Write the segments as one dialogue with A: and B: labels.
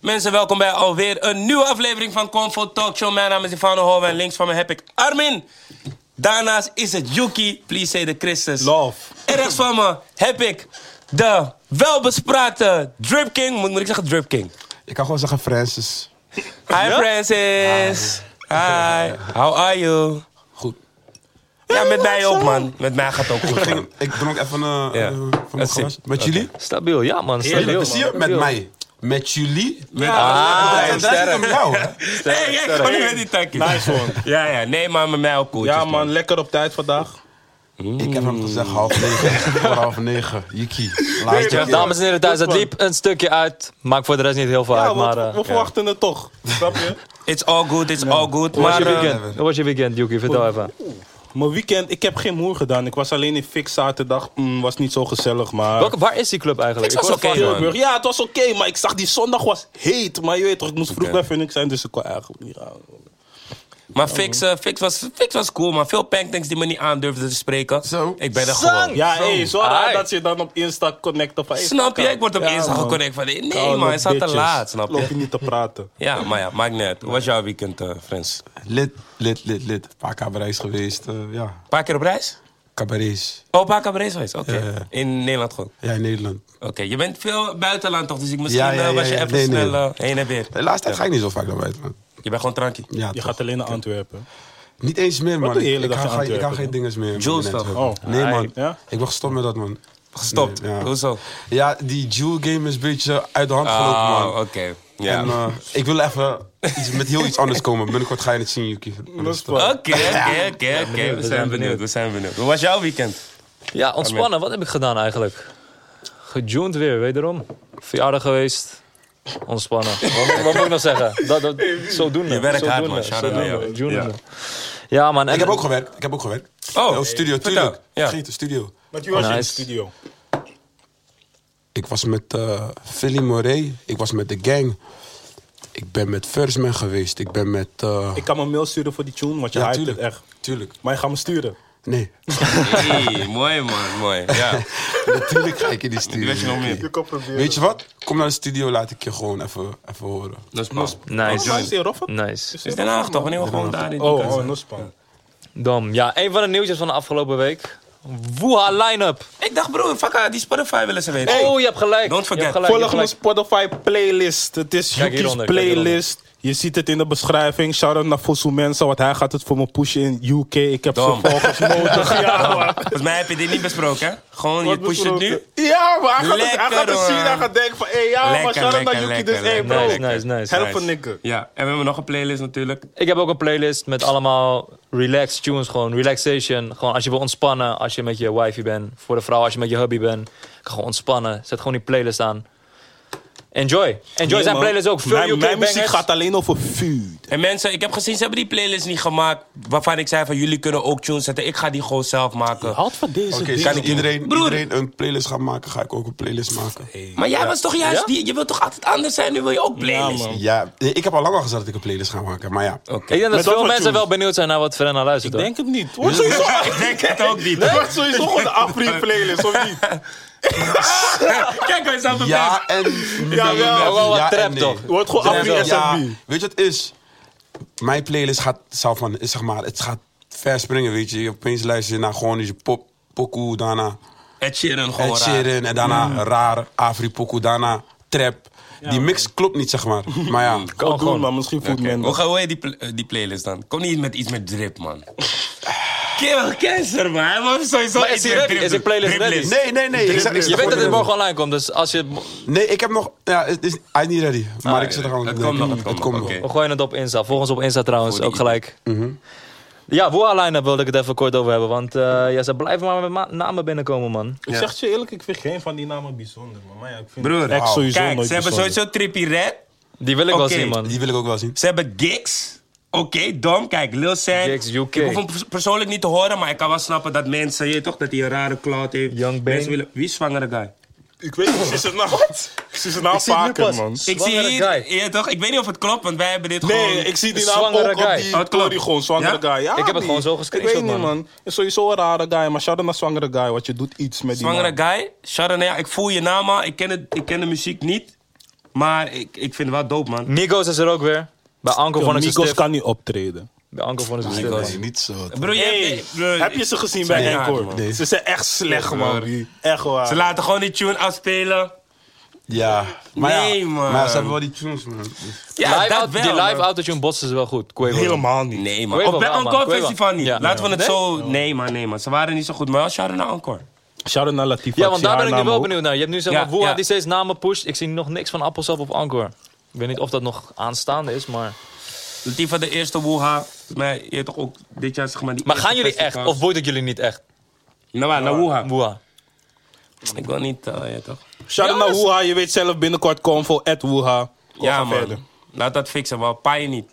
A: Mensen, welkom bij alweer een nieuwe aflevering van Comfort Talk Show. Mijn naam is Ivano Hove en links van me heb ik Armin. Daarnaast is het Yuki, please say the Christus.
B: Love.
A: Ergens van me heb ik de welbespraakte Drip King. Moet, moet ik zeggen Drip King?
B: Ik kan gewoon zeggen Francis.
A: Hi Francis. Hi. How are you?
B: Goed.
A: Ja, met mij ook man. Met mij gaat het ook goed. man.
B: Ik drink even een
A: Ja.
B: eh, van mijn
A: Dat is
B: glas.
A: it.
B: Met jullie?
C: Stabiel, ja man. Stabiel,
B: Jullie,
C: man.
B: Zie je? Met
C: Stabiel.
B: mij. Met jullie? Met
A: Ah,
B: en daar zit hem jou, hè?
A: Hey, ik ga niet met die takkie.
D: Nice one.
A: Ja, ja. Nee, maar met mij ook koeltjes.
D: Ja man, lekker op tijd vandaag.
B: Ik heb hem gezegd half negen. Voor half negen. Jiki. Laat je
C: Dames en heren thuis, het liep een stukje uit. Maakt voor de rest niet heel veel
D: Ja,
C: uit,
D: we,
C: maar...
D: we
C: eh,
D: verwachten het toch. Snap je?
A: It's all good, it's all good.
C: Hoe was
A: Maar
C: je
A: eh,
C: weekend? Hoe was je weekend, Yuki? Vertel even.
D: Mijn weekend, ik heb geen moer gedaan. Ik was alleen in Fix zaterdag. Mm, was niet zo gezellig, maar...
C: Welke, waar is die club eigenlijk?
D: Ik was
C: hoor
A: oké,
D: oké,
A: man.
D: Ja, het was oké, maar ik zag die zondag was heet. Maar je weet toch, ik moest vroeg bij Phoenix zijn, dus ik kon eigenlijk niet gaan.
A: maar Fix, eh, Fix, was, Fix was cool, maar veel panktanks die me niet aandurfden te spreken.
B: Zo.
A: Ik ben er
C: Zang!
A: gewoon.
D: Ja, hé, zo raar
C: Ai.
D: dat je dan op Insta connecten van... hey,
A: Snap je?
D: fuck,
A: Ik word op
D: ja,
A: Insta
D: man.
A: geconnect van... Nee,
D: Koude
A: man, het staat te
D: bitches.
A: laat, snap
D: Loop
A: je?
D: je niet te praten.
A: Ja, maar ja, maakt niet uit. Hoe was jouw weekend, eh Frans? Een
B: Lid, lid, lid, lid. Een paar cabarets geweest. eh, ja,
A: paar keer op reis?
B: cabarets.
A: Oh, een paar keer op reis geweest? Oké.
B: Ja, ja.
A: In Nederland gewoon?
B: Ja, in Nederland.
A: Oké, je bent veel buitenland toch? Dus ik misschien
B: Ja, ja,
A: eh,
B: ja,
A: was je
B: ja.
A: even
B: Nee, nee.
A: snel eh, heen en weer.
B: De laatste tijd ga ik niet zo vaak naar buiten, man.
A: Je bent gewoon tranky.
B: Ja,
D: Je
B: toch.
D: gaat alleen naar Antwerpen.
B: Niet eens meer, man.
D: doe je
B: Ik,
D: hele
B: ik,
D: dag
B: ga,
D: in
B: geen- ik kan
D: Antwerpen,
B: geen dinges meer.
A: Jules
B: in Antwerpen.
A: toch?
D: Oh.
B: Nee, man.
D: Ja?
B: Ik ben gestopt met dat, man.
A: Gestopt.
B: Nee, ja.
A: Hoezo?
B: Ja, die Jewel game is een beetje uit de hand gelopen,
A: Ah,
B: man.
A: oké. Ja.
B: En, eh, ik wil even iets, met heel iets anders komen. Binnenkort ga je het zien, Yuki. Dus, eh,
A: Oké, oké, oké, oké. We zijn benieuwd, we zijn benieuwd. Hoe was jouw weekend?
C: Ja, ontspannen. Wat heb ik gedaan eigenlijk? Getuned weer, wederom. Verjaardag geweest. Ontspannen. wat, moet- wat moet ik nog zeggen? Dat, dat, zodoende.
A: Je werkt hard,
C: zodoende,
A: man. Shout out
C: zodoende,
A: naar jou.
C: zodoende. Ja man. En,
B: ik heb ook gewerkt. Ik heb ook gewerkt.
A: Oh,
B: studio,
A: vertel.
B: tuurlijk.
A: Ja.
B: Vergeet de studio.
D: Met wie was je in de
C: Nice.
D: studio?
B: Ik was met eh Philly Moray. Ik was met de gang. Ik ben met First Man geweest. Ik ben met... eh,
D: Ik kan me een mail sturen voor die tune, want je
B: ja,
D: hyped
B: tuurlijk.
D: het echt.
B: Tuurlijk.
D: Maar je gaat me sturen.
B: Nee.
A: Hey, mooi man, mooi. Ja.
B: Natuurlijk ga ik in die studio.
A: Die weet je nog
B: Yuki.
A: meer.
D: kan proberen.
B: Weet je wat? Kom naar de studio, laat ik je gewoon even, even horen.
A: Dat is man.
D: Oh,
C: Nice.
D: is die in Rotterdam?
C: Nice.
A: Is Den Haag toch? Wanneer we gewoon daar in die
D: Oh,
A: kant
D: oh,
A: zijn?
D: Nospan.
C: Dom. Ja, een van de nieuwtjes van de afgelopen week. Woeha line-up.
A: Ik dacht, broer, fuck, die Spotify willen ze weten.
C: Oh, je hebt gelijk.
A: Don't forget.
C: Je hebt gelijk, je hebt
D: Volg mijn
C: gelijk.
D: Spotify playlist. Het is
C: Kijk
D: Yuki's
C: hieronder, kijk
D: playlist. Je ziet het in de beschrijving. Shout-out naar Fosu Mensa, want hij gaat het voor me pushen in UK. Ik heb
A: Dom.
D: zijn volgers nodig. Ja, man.
A: Volgens mij heb je dit niet besproken, hè? Gewoon, je
D: Wat
A: pusht het nu.
D: besproken. Ja, maar hij gaat, het, hij
A: Lekker,
D: gaat het zien.
A: man.
D: Hij gaat denken van, hé, hey, ja,
A: Lekker,
D: maar shout-out naar
A: lekker,
D: Yuki.
A: lekker,
D: Dus, hé,
A: lekker.
D: bro.
C: Nice, nice, nice.
D: Help
A: Nice.
D: een nigger.
A: Ja, en we hebben nog een playlist natuurlijk.
C: Ik heb ook een playlist met allemaal relaxed tunes. Gewoon relaxation. Gewoon als je wil ontspannen. Als je met je wifey bent. Voor de vrouw als je met je hubby bent. Kan gewoon ontspannen. Zet gewoon die playlist aan. Enjoy. Enjoy
D: Nee,
C: zijn
D: man.
C: playlist ook. Veel
D: Mijn,
C: UK
D: mijn muziek
C: bangers.
D: gaat alleen over vuur.
A: En mensen, ik heb gezien, ze hebben die playlist niet gemaakt. Waarvan ik zei van, jullie kunnen ook tunes zetten. Ik ga die gewoon zelf maken.
D: Houd van deze
B: Oké,
D: dingen.
B: kan ik iedereen,
A: Broer.
B: iedereen een playlist gaan maken, ga ik ook een playlist maken.
A: Maar jij was toch juist,
C: Ja?
A: die, je wilt toch altijd anders zijn? Nu wil je ook playlist.
D: Ja, man.
B: Ja, nee, ik heb al lang al gezegd dat ik een playlist ga maken, maar ja.
A: Oh.
C: Ik denk dat
D: Met wat
C: veel
D: voor
C: mensen
D: tunes?
C: wel benieuwd zijn naar wat Frenna luistert.
D: Ik
C: hoor.
D: denk het niet. Wordt sowieso,
A: ik denk het ook niet.
D: wordt sowieso gewoon de Afri-playlist, of niet?
A: Kijk, hij staat op
B: Ja en
D: Ja, wel.
B: en
C: Ook wel wat
B: en
C: trap,
B: nee.
C: toch?
D: Wordt gewoon
B: Ja,
D: Afri-SFB.
B: ja, weet je wat het is? Mijn playlist gaat zelf van, is zeg maar, het gaat ver springen, weet je. Je Opeens luister je naar gewoon je pop, pokoe, daarna
A: Ed Sheeran gewoon Mm.
B: Ed Sheeran en daarna raar, Afri pokoe, daarna trap. Die mix klopt niet, zeg maar. Maar ja,
A: Mm,
D: Kan
C: gewoon.
D: doen, maar misschien voelt
A: Oké,
D: men
A: Hoe,
D: dat.
A: ga- hoe heet die, pl- eh, die playlist dan? Kom niet met iets met drip, man. Kill cancer, man. Hij was sowieso
C: Maar is
A: iets
C: die
A: met
C: ready?
A: drip
C: Is die
A: doen.
C: playlist ready?
A: Driplist.
B: nee, nee, nee. Ik zeg- ik zeg
C: Je weet
B: gewoon-
C: dat het morgen online komt. Dus als je... We
B: Nee, ik heb nog. Ja, het is, hij is niet ready. Maar
A: Ah,
B: ik zit er gewoon.
A: het
B: nee,
A: komt nog, het komt nog,
B: nog.
A: oké.
C: gooien het op Insta. Volg ons op Insta trouwens.
A: Voor die-
C: Ook gelijk.
D: Mhm.
C: Ja, Woeha line-up wilde ik het even kort over hebben. Want eh, ja, ze blijven maar met ma- namen binnenkomen, man.
D: Ik zeg het je eerlijk, ik vind geen van die namen bijzonder, man. Maar ja, ik vind
A: Broer,
D: het echt sowieso
A: kijk,
D: nooit
A: ze hebben
D: bijzonder.
A: sowieso Trippy Red.
C: Die wil ik
A: Oké.
C: wel zien, man.
B: Die wil ik ook wel zien.
A: Ze hebben Gigs. Oké, dom. Kijk, Lil Sam.
C: Gigs, UK.
A: Ik hoef hem pers- persoonlijk niet te horen, maar ik kan wel snappen dat mensen... Je weet toch, dat hij een rare cloud heeft.
C: Young Bane.
A: Mensen willen... Wie is zwangere guy?
D: Ik weet precies het naam. Precies het naam
C: zie het nu
D: vaker,
C: pas.
D: man.
A: Ik zie
C: Zwangere
A: hier...
C: guy.
A: Je weet toch, ik weet niet of het klopt, want wij hebben dit gewoon...
D: Nee, ik zie die
C: Een
D: naam ook
C: zwangere
D: op
C: guy.
D: die
A: Oh, het klopt.
D: story gewoon, zwangere
A: Ja?
D: guy. Ja,
C: Ik heb het
D: die-
C: gewoon zo gescreenshot,
D: Ik weet niet,
C: man.
D: man. Is sowieso een rare guy, maar shout-out naar zwangere guy, want je doet iets met die
A: Zwangere
D: naam.
A: guy. Sharon, ja, ik voel je naam, maar ik ken, het, ik ken de muziek niet. Maar ik, ik vind het wel dope, man.
C: Migos is er ook weer. Bij Anko vond ik ze
D: Migos
C: stiff.
D: kan niet optreden.
C: Bij Anko vond ik ze
E: Dat is
C: stiff.
E: niet zo. toch?
A: Bro, je hebt-
D: Hey,
A: bro,
D: heb je ze gezien bij
A: Nee,
D: Henk
A: man.
D: hoor?
E: Nee.
D: Ze zijn echt slecht, man. Echt waar.
A: Ze laten gewoon die tune afspelen.
B: Ja. Maar
A: Nee,
B: ja,
A: man.
B: Maar ze hebben wel die tunes, man. Dus-
A: Ja,
C: Live
A: dat
C: auto-
A: wel,
C: die live
A: man.
C: autotune botsen ze wel goed. Quavo.
D: Helemaal niet.
A: Nee, man.
C: Quavo
A: Of bij
C: wel, man.
A: Encore
C: Quavo.
A: Festival niet.
C: Ja.
A: Laten we het
C: Nee?
A: zo... Nee, man, nee, man. Ze waren niet zo goed, maar wel shout-out naar Encore.
D: Shout-out naar Latifa.
C: Ja,
D: ik
C: want
D: zie
C: daar ben
D: haar
C: ik nu
D: naam
C: wel
D: ook.
C: benieuwd naar. Je hebt nu zeg
A: Ja,
C: maar Woeha
A: ja.
C: die steeds namen pusht. Ik zie nog niks van Appelsap op Anchor. Ik weet niet of dat nog aanstaande is, maar...
A: Latifa de eerste Woeha. Maar je hebt toch ook dit jaar zeg maar die
C: Maar
A: eerste
C: gaan jullie echt?
A: festivals.
C: Of wordt het jullie niet echt?
A: Nou, waar, naar Woeha.
C: Woeha.
A: Ik wil niet, eh, ja toch.
D: Shout-out naar Woeha. Je weet zelf binnenkort convo. At Woeha. Kom
A: ja
D: maar
A: man,
D: verder.
A: laat dat fixen, maar paaien niet.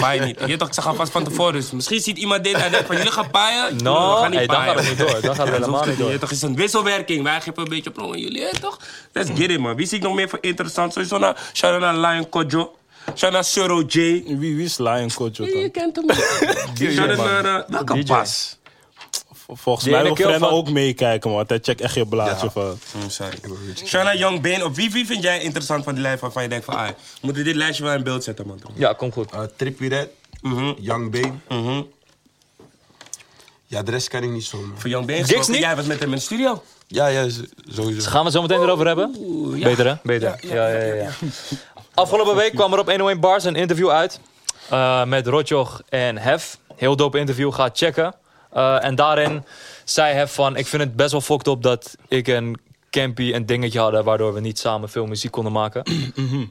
A: Paaien niet. Je weet toch, ik zeg alvast van tevoren. Dus misschien ziet iemand dit en denkt van jullie gaan paaien.
C: No,
A: we gaan niet
C: hey, dan
A: paaien.
C: gaat het niet door. Dan gaat het
A: Ja,
C: helemaal
A: zo
C: niet
A: Je
C: door.
A: weet toch, het is een wisselwerking. Wij geven een beetje pro en jullie, je weet toch? Let's get it man. Wie zie ik nog meer voor interessant? Sowieso naar shout-out naar Lion Kojo. Shout-out naar Suro J.
D: Wie, wie is Lion Kojo
A: Je
D: dan?
A: kent hem niet. Shout-out naar... eh, welke
C: DJ.
A: pas?
D: Volgens
C: Die
D: mij
C: ene
D: wil
C: kill
D: Frenna
C: van-
D: ook meekijken, man. Hij checkt echt je blaadje van.
A: Mm, sorry. Shout-out naar Young Bane. Of wie, wie vind jij interessant van die lijst waarvan je denkt van... Ah, we moeten dit lijstje wel in beeld zetten man.
C: Ja, komt goed.
B: Eh, Trippie Red,
A: Mhm.
B: Young Bane. Ja, de rest kan ik niet zo, man.
A: Voor Young Bane
C: Gigs
A: gesproken,
C: niet?
A: Jij was met hem in de studio.
B: Ja, ja, z- sowieso.
C: Gaan we het zo meteen erover hebben? Beter, hè? Beter. Ja, ja, ja. ja. Afgelopen week kwam er op 101 Bars een interview uit eh, met Rotjoch en Hef. Heel dope interview, ga het checken. Eh, en daarin zei Hef van, ik vind het best wel fucked op dat ik en Campy een dingetje hadden... waardoor we niet samen veel muziek konden maken. en
A: Mhm.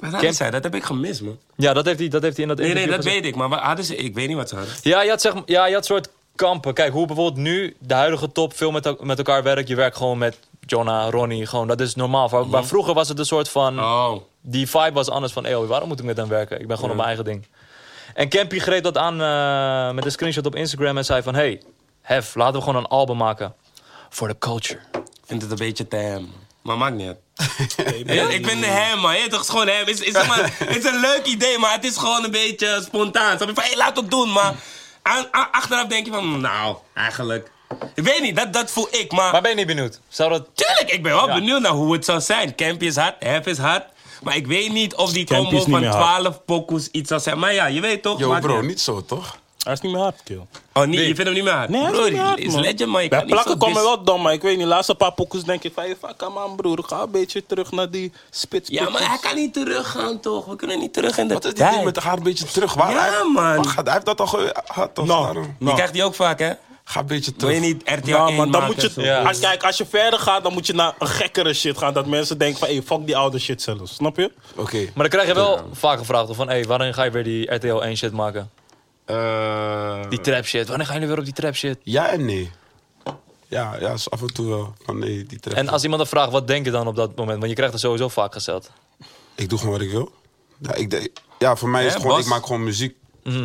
A: Maar
C: Camp-
A: dat, zei, dat heb ik gemist, man.
C: Ja, dat heeft hij, dat heeft hij in dat
A: Nee, nee,
C: interview
A: dat
C: gezegd.
A: weet ik. Maar wa- hadden ze, ik weet niet wat ze hadden.
C: Ja, je had, zeg, ja, je had soort kampen. Kijk, hoe bijvoorbeeld nu de huidige top veel met, el- met elkaar werkt. Je werkt gewoon met Jonah, Ronnie. Gewoon, dat is normaal. Maar, maar vroeger was het een soort van...
A: Oh.
C: Die vibe was anders van... Eeuw, waarom moet ik met hem werken? Ik ben gewoon op mijn eigen ding. En Campy greep dat aan eh, met een screenshot op Instagram. En zei van... Hey, Hef, laten we gewoon een album maken. Voor de culture.
A: Ik vind het een beetje te hem. Maar maakt niet uit. Ja, ik vind het hem, man. Ja, toch, het is gewoon hem. Het is, is, zeg maar, het is een leuk idee, maar het is gewoon een beetje spontaan. Snap je? Van, hey, laat het doen, maar... Aan, a- achteraf denk je van, nou, eigenlijk... Ik weet niet, dat, dat voel ik, maar...
C: Maar ben je niet benieuwd? Zou dat...
A: Tuurlijk, ik ben wel
C: Ja.
A: benieuwd naar hoe het zou zijn. Campy is hard, Hef is hard. Maar ik weet niet of die
D: Campy is
A: combo
D: niet
A: van
D: meer hard.
A: 12 pokoes iets zou zijn. Maar ja, je weet toch?
B: Yo,
A: maakt niet
B: bro,
A: uit.
B: niet zo, toch?
D: Hij is niet meer hard, kill.
A: Oh, nee, je vindt hem niet meer hard?
D: Nee, hij is
A: Bro,
D: niet meer hard,
A: die is
D: man.
A: legend, maar je
D: Bij
A: kan niet zo
D: plakken komen
A: dis-
D: wel dom, maar ik weet niet. Laatste paar poekers denk ik van... je fuck aan man, broer. Ga een beetje terug naar die spits.
A: Ja, maar hij kan niet teruggaan, toch? We kunnen niet terug in de
B: Wat is dit
A: tijd.
B: ding met haar een beetje terug? Waar,
A: Ja,
B: hij,
A: man.
B: Waar gaat, hij heeft dat al gehad, toch? Daarom.
A: Die krijgt die ook vaak, hè?
B: Ga een beetje
A: Wil
B: terug.
A: je niet RTL
D: Ja,
A: 1
D: man, dan
A: maken?
D: moet je...
A: zo?
C: Ja.
D: Als, kijk, als je verder gaat, dan moet je naar een gekkere shit gaan. Dat mensen denken van, hey, fuck die oude shit zelfs. Snap je?
B: Oké.
C: Maar dan krijg je wel vaak gevraagd van... Hey, wanneer ga je weer die RTL 1 shit maken?
B: Eh,
C: Die trap shit. Wanneer gaan jullie weer op die trap shit?
B: ja en nee. Ja, ja, is af en toe wel. Van nee, die treft.
C: En als iemand dan vraagt, wat denk je dan op dat moment? Want je krijgt het sowieso vaak gesteld.
B: Ik doe gewoon wat ik wil. Ja, ik, de- ja voor mij is
A: Hè,
B: het gewoon,
A: Bas? Mhm.
B: ik maak gewoon muziek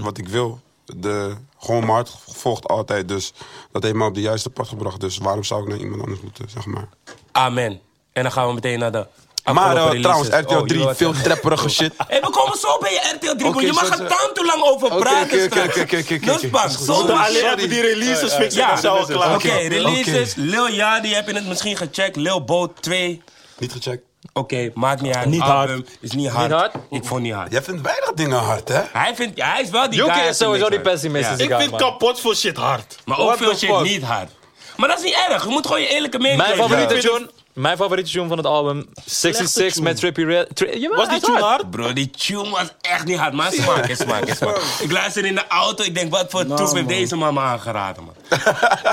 B: wat ik wil. De, gewoon mijn hart volgt altijd. Dus dat heeft me op de juiste pad gebracht. Dus waarom zou ik naar iemand anders moeten, zeg maar.
A: Amen. En dan gaan we meteen naar de...
B: Maar
A: afgelopen
B: eh,
A: releases.
B: trouwens,
A: Oh,
B: RTL
A: je
B: 3,
A: wil wat
B: veel
A: zeggen.
B: trapperige shit.
A: Hé, we komen zo bij je RTL 3,
B: Oké,
A: je mag
B: zo-
A: er taam te lang over
B: Oké,
A: praten.
B: oké, oké,
A: straks.
B: oké, oké, oké, oké.
A: Nusbank,
B: Is goed.
A: zo
B: Sorry.
A: lang.
D: Alleen even die releases fixen,
A: Ja.
D: dan zijn we klaar.
A: Oké,
B: Oké,
A: releases. Lil Yadi, heb je het misschien gecheckt? Lil Bo 2.
B: Niet gecheckt.
A: Oké, maakt niet uit.
D: Niet
A: Album Is niet hard.
C: Niet hard?
A: Ik vond niet hard.
B: Jij vindt weinig dingen hard, hè?
A: Hij, vindt, ja, hij is wel die
C: Yuki
A: guy, hij
C: is sowieso
A: vindt
C: die
A: niks hard.
C: pessimist. dus
A: Ja.
C: die
D: Ik
C: guy,
D: vind
C: man.
D: kapot veel shit hard.
A: Maar ook
D: What
A: veel
D: the
A: shit
D: fuck?
A: niet hard. Maar dat is niet erg. Je moet gewoon je eerlijke mening
C: Mijn
A: geven.
C: favoriete
A: Ja.
C: tune. Mijn favoriete tune van het album. 66
D: tune.
C: met Trippie Red. Tri Jawel,
D: Was
C: hij
D: die
C: is
D: tune hard?
A: Bro, die tune was echt niet hard. Maar smaak is smaak is smaak. Ik luister in de auto. Ik denk, wat voor troep heeft deze mama aangeraden, man.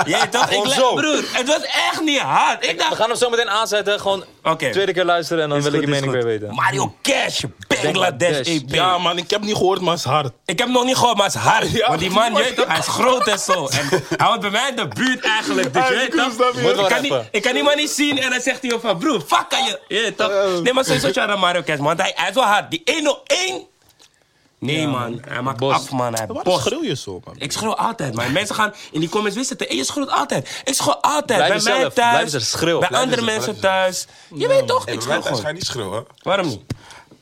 A: Jij toch? Ik
C: Gewoon
A: lu-
C: zo.
A: Broer, het was echt niet hard. Ik
C: We
A: dacht...
C: gaan hem zo meteen aanzetten. Gewoon
A: Oké.
C: tweede keer luisteren en dan wil
B: goed,
C: ik je
B: is
C: mening
B: goed.
C: weer weten.
A: Mario Cash, Bangladesh
C: Bangladesh.
A: EP.
D: Ja, man, ik heb niet gehoord, maar het is hard.
A: Ik heb hem nog niet gehoord, maar het is hard.
D: Ja,
A: Want die man,
D: maar-
A: je weet toch, hij is groot en zo. En hij wordt bij mij in de buurt eigenlijk. Dus je
D: Hij is
A: weet
D: cool, snap
A: toch,
D: je?
A: ik
C: Moet wel
A: kan, niet,
C: rappen.
A: ik kan die man niet zien en dan zegt hij ook van, broer, fuck kan je. je weet toch? Nee, maar sowieso shout-out Mario Kers, man. Hij, hij is wel hard. Die 101. Nee, man. Hij maakt
C: Bos.
A: af, man. Hij
D: Waarom
A: bos.
D: schreeuw je zo, man?
A: Ik schreeuw altijd, man. Mensen gaan in die comments wisten het. Je schreeuwt altijd. Ik schreeuw altijd. bij
C: Blijf
A: mij
C: jezelf.
A: thuis.
C: Blijf jezelf. Schreeuw.
A: Bij
C: Blijf
A: andere
B: jezelf.
A: mensen thuis. Je weet toch,
B: Hey,
A: ik
B: bij
A: schreeuw
B: mij thuis ga je
A: gewoon.
B: niet schreeuwen.
A: Waarom niet?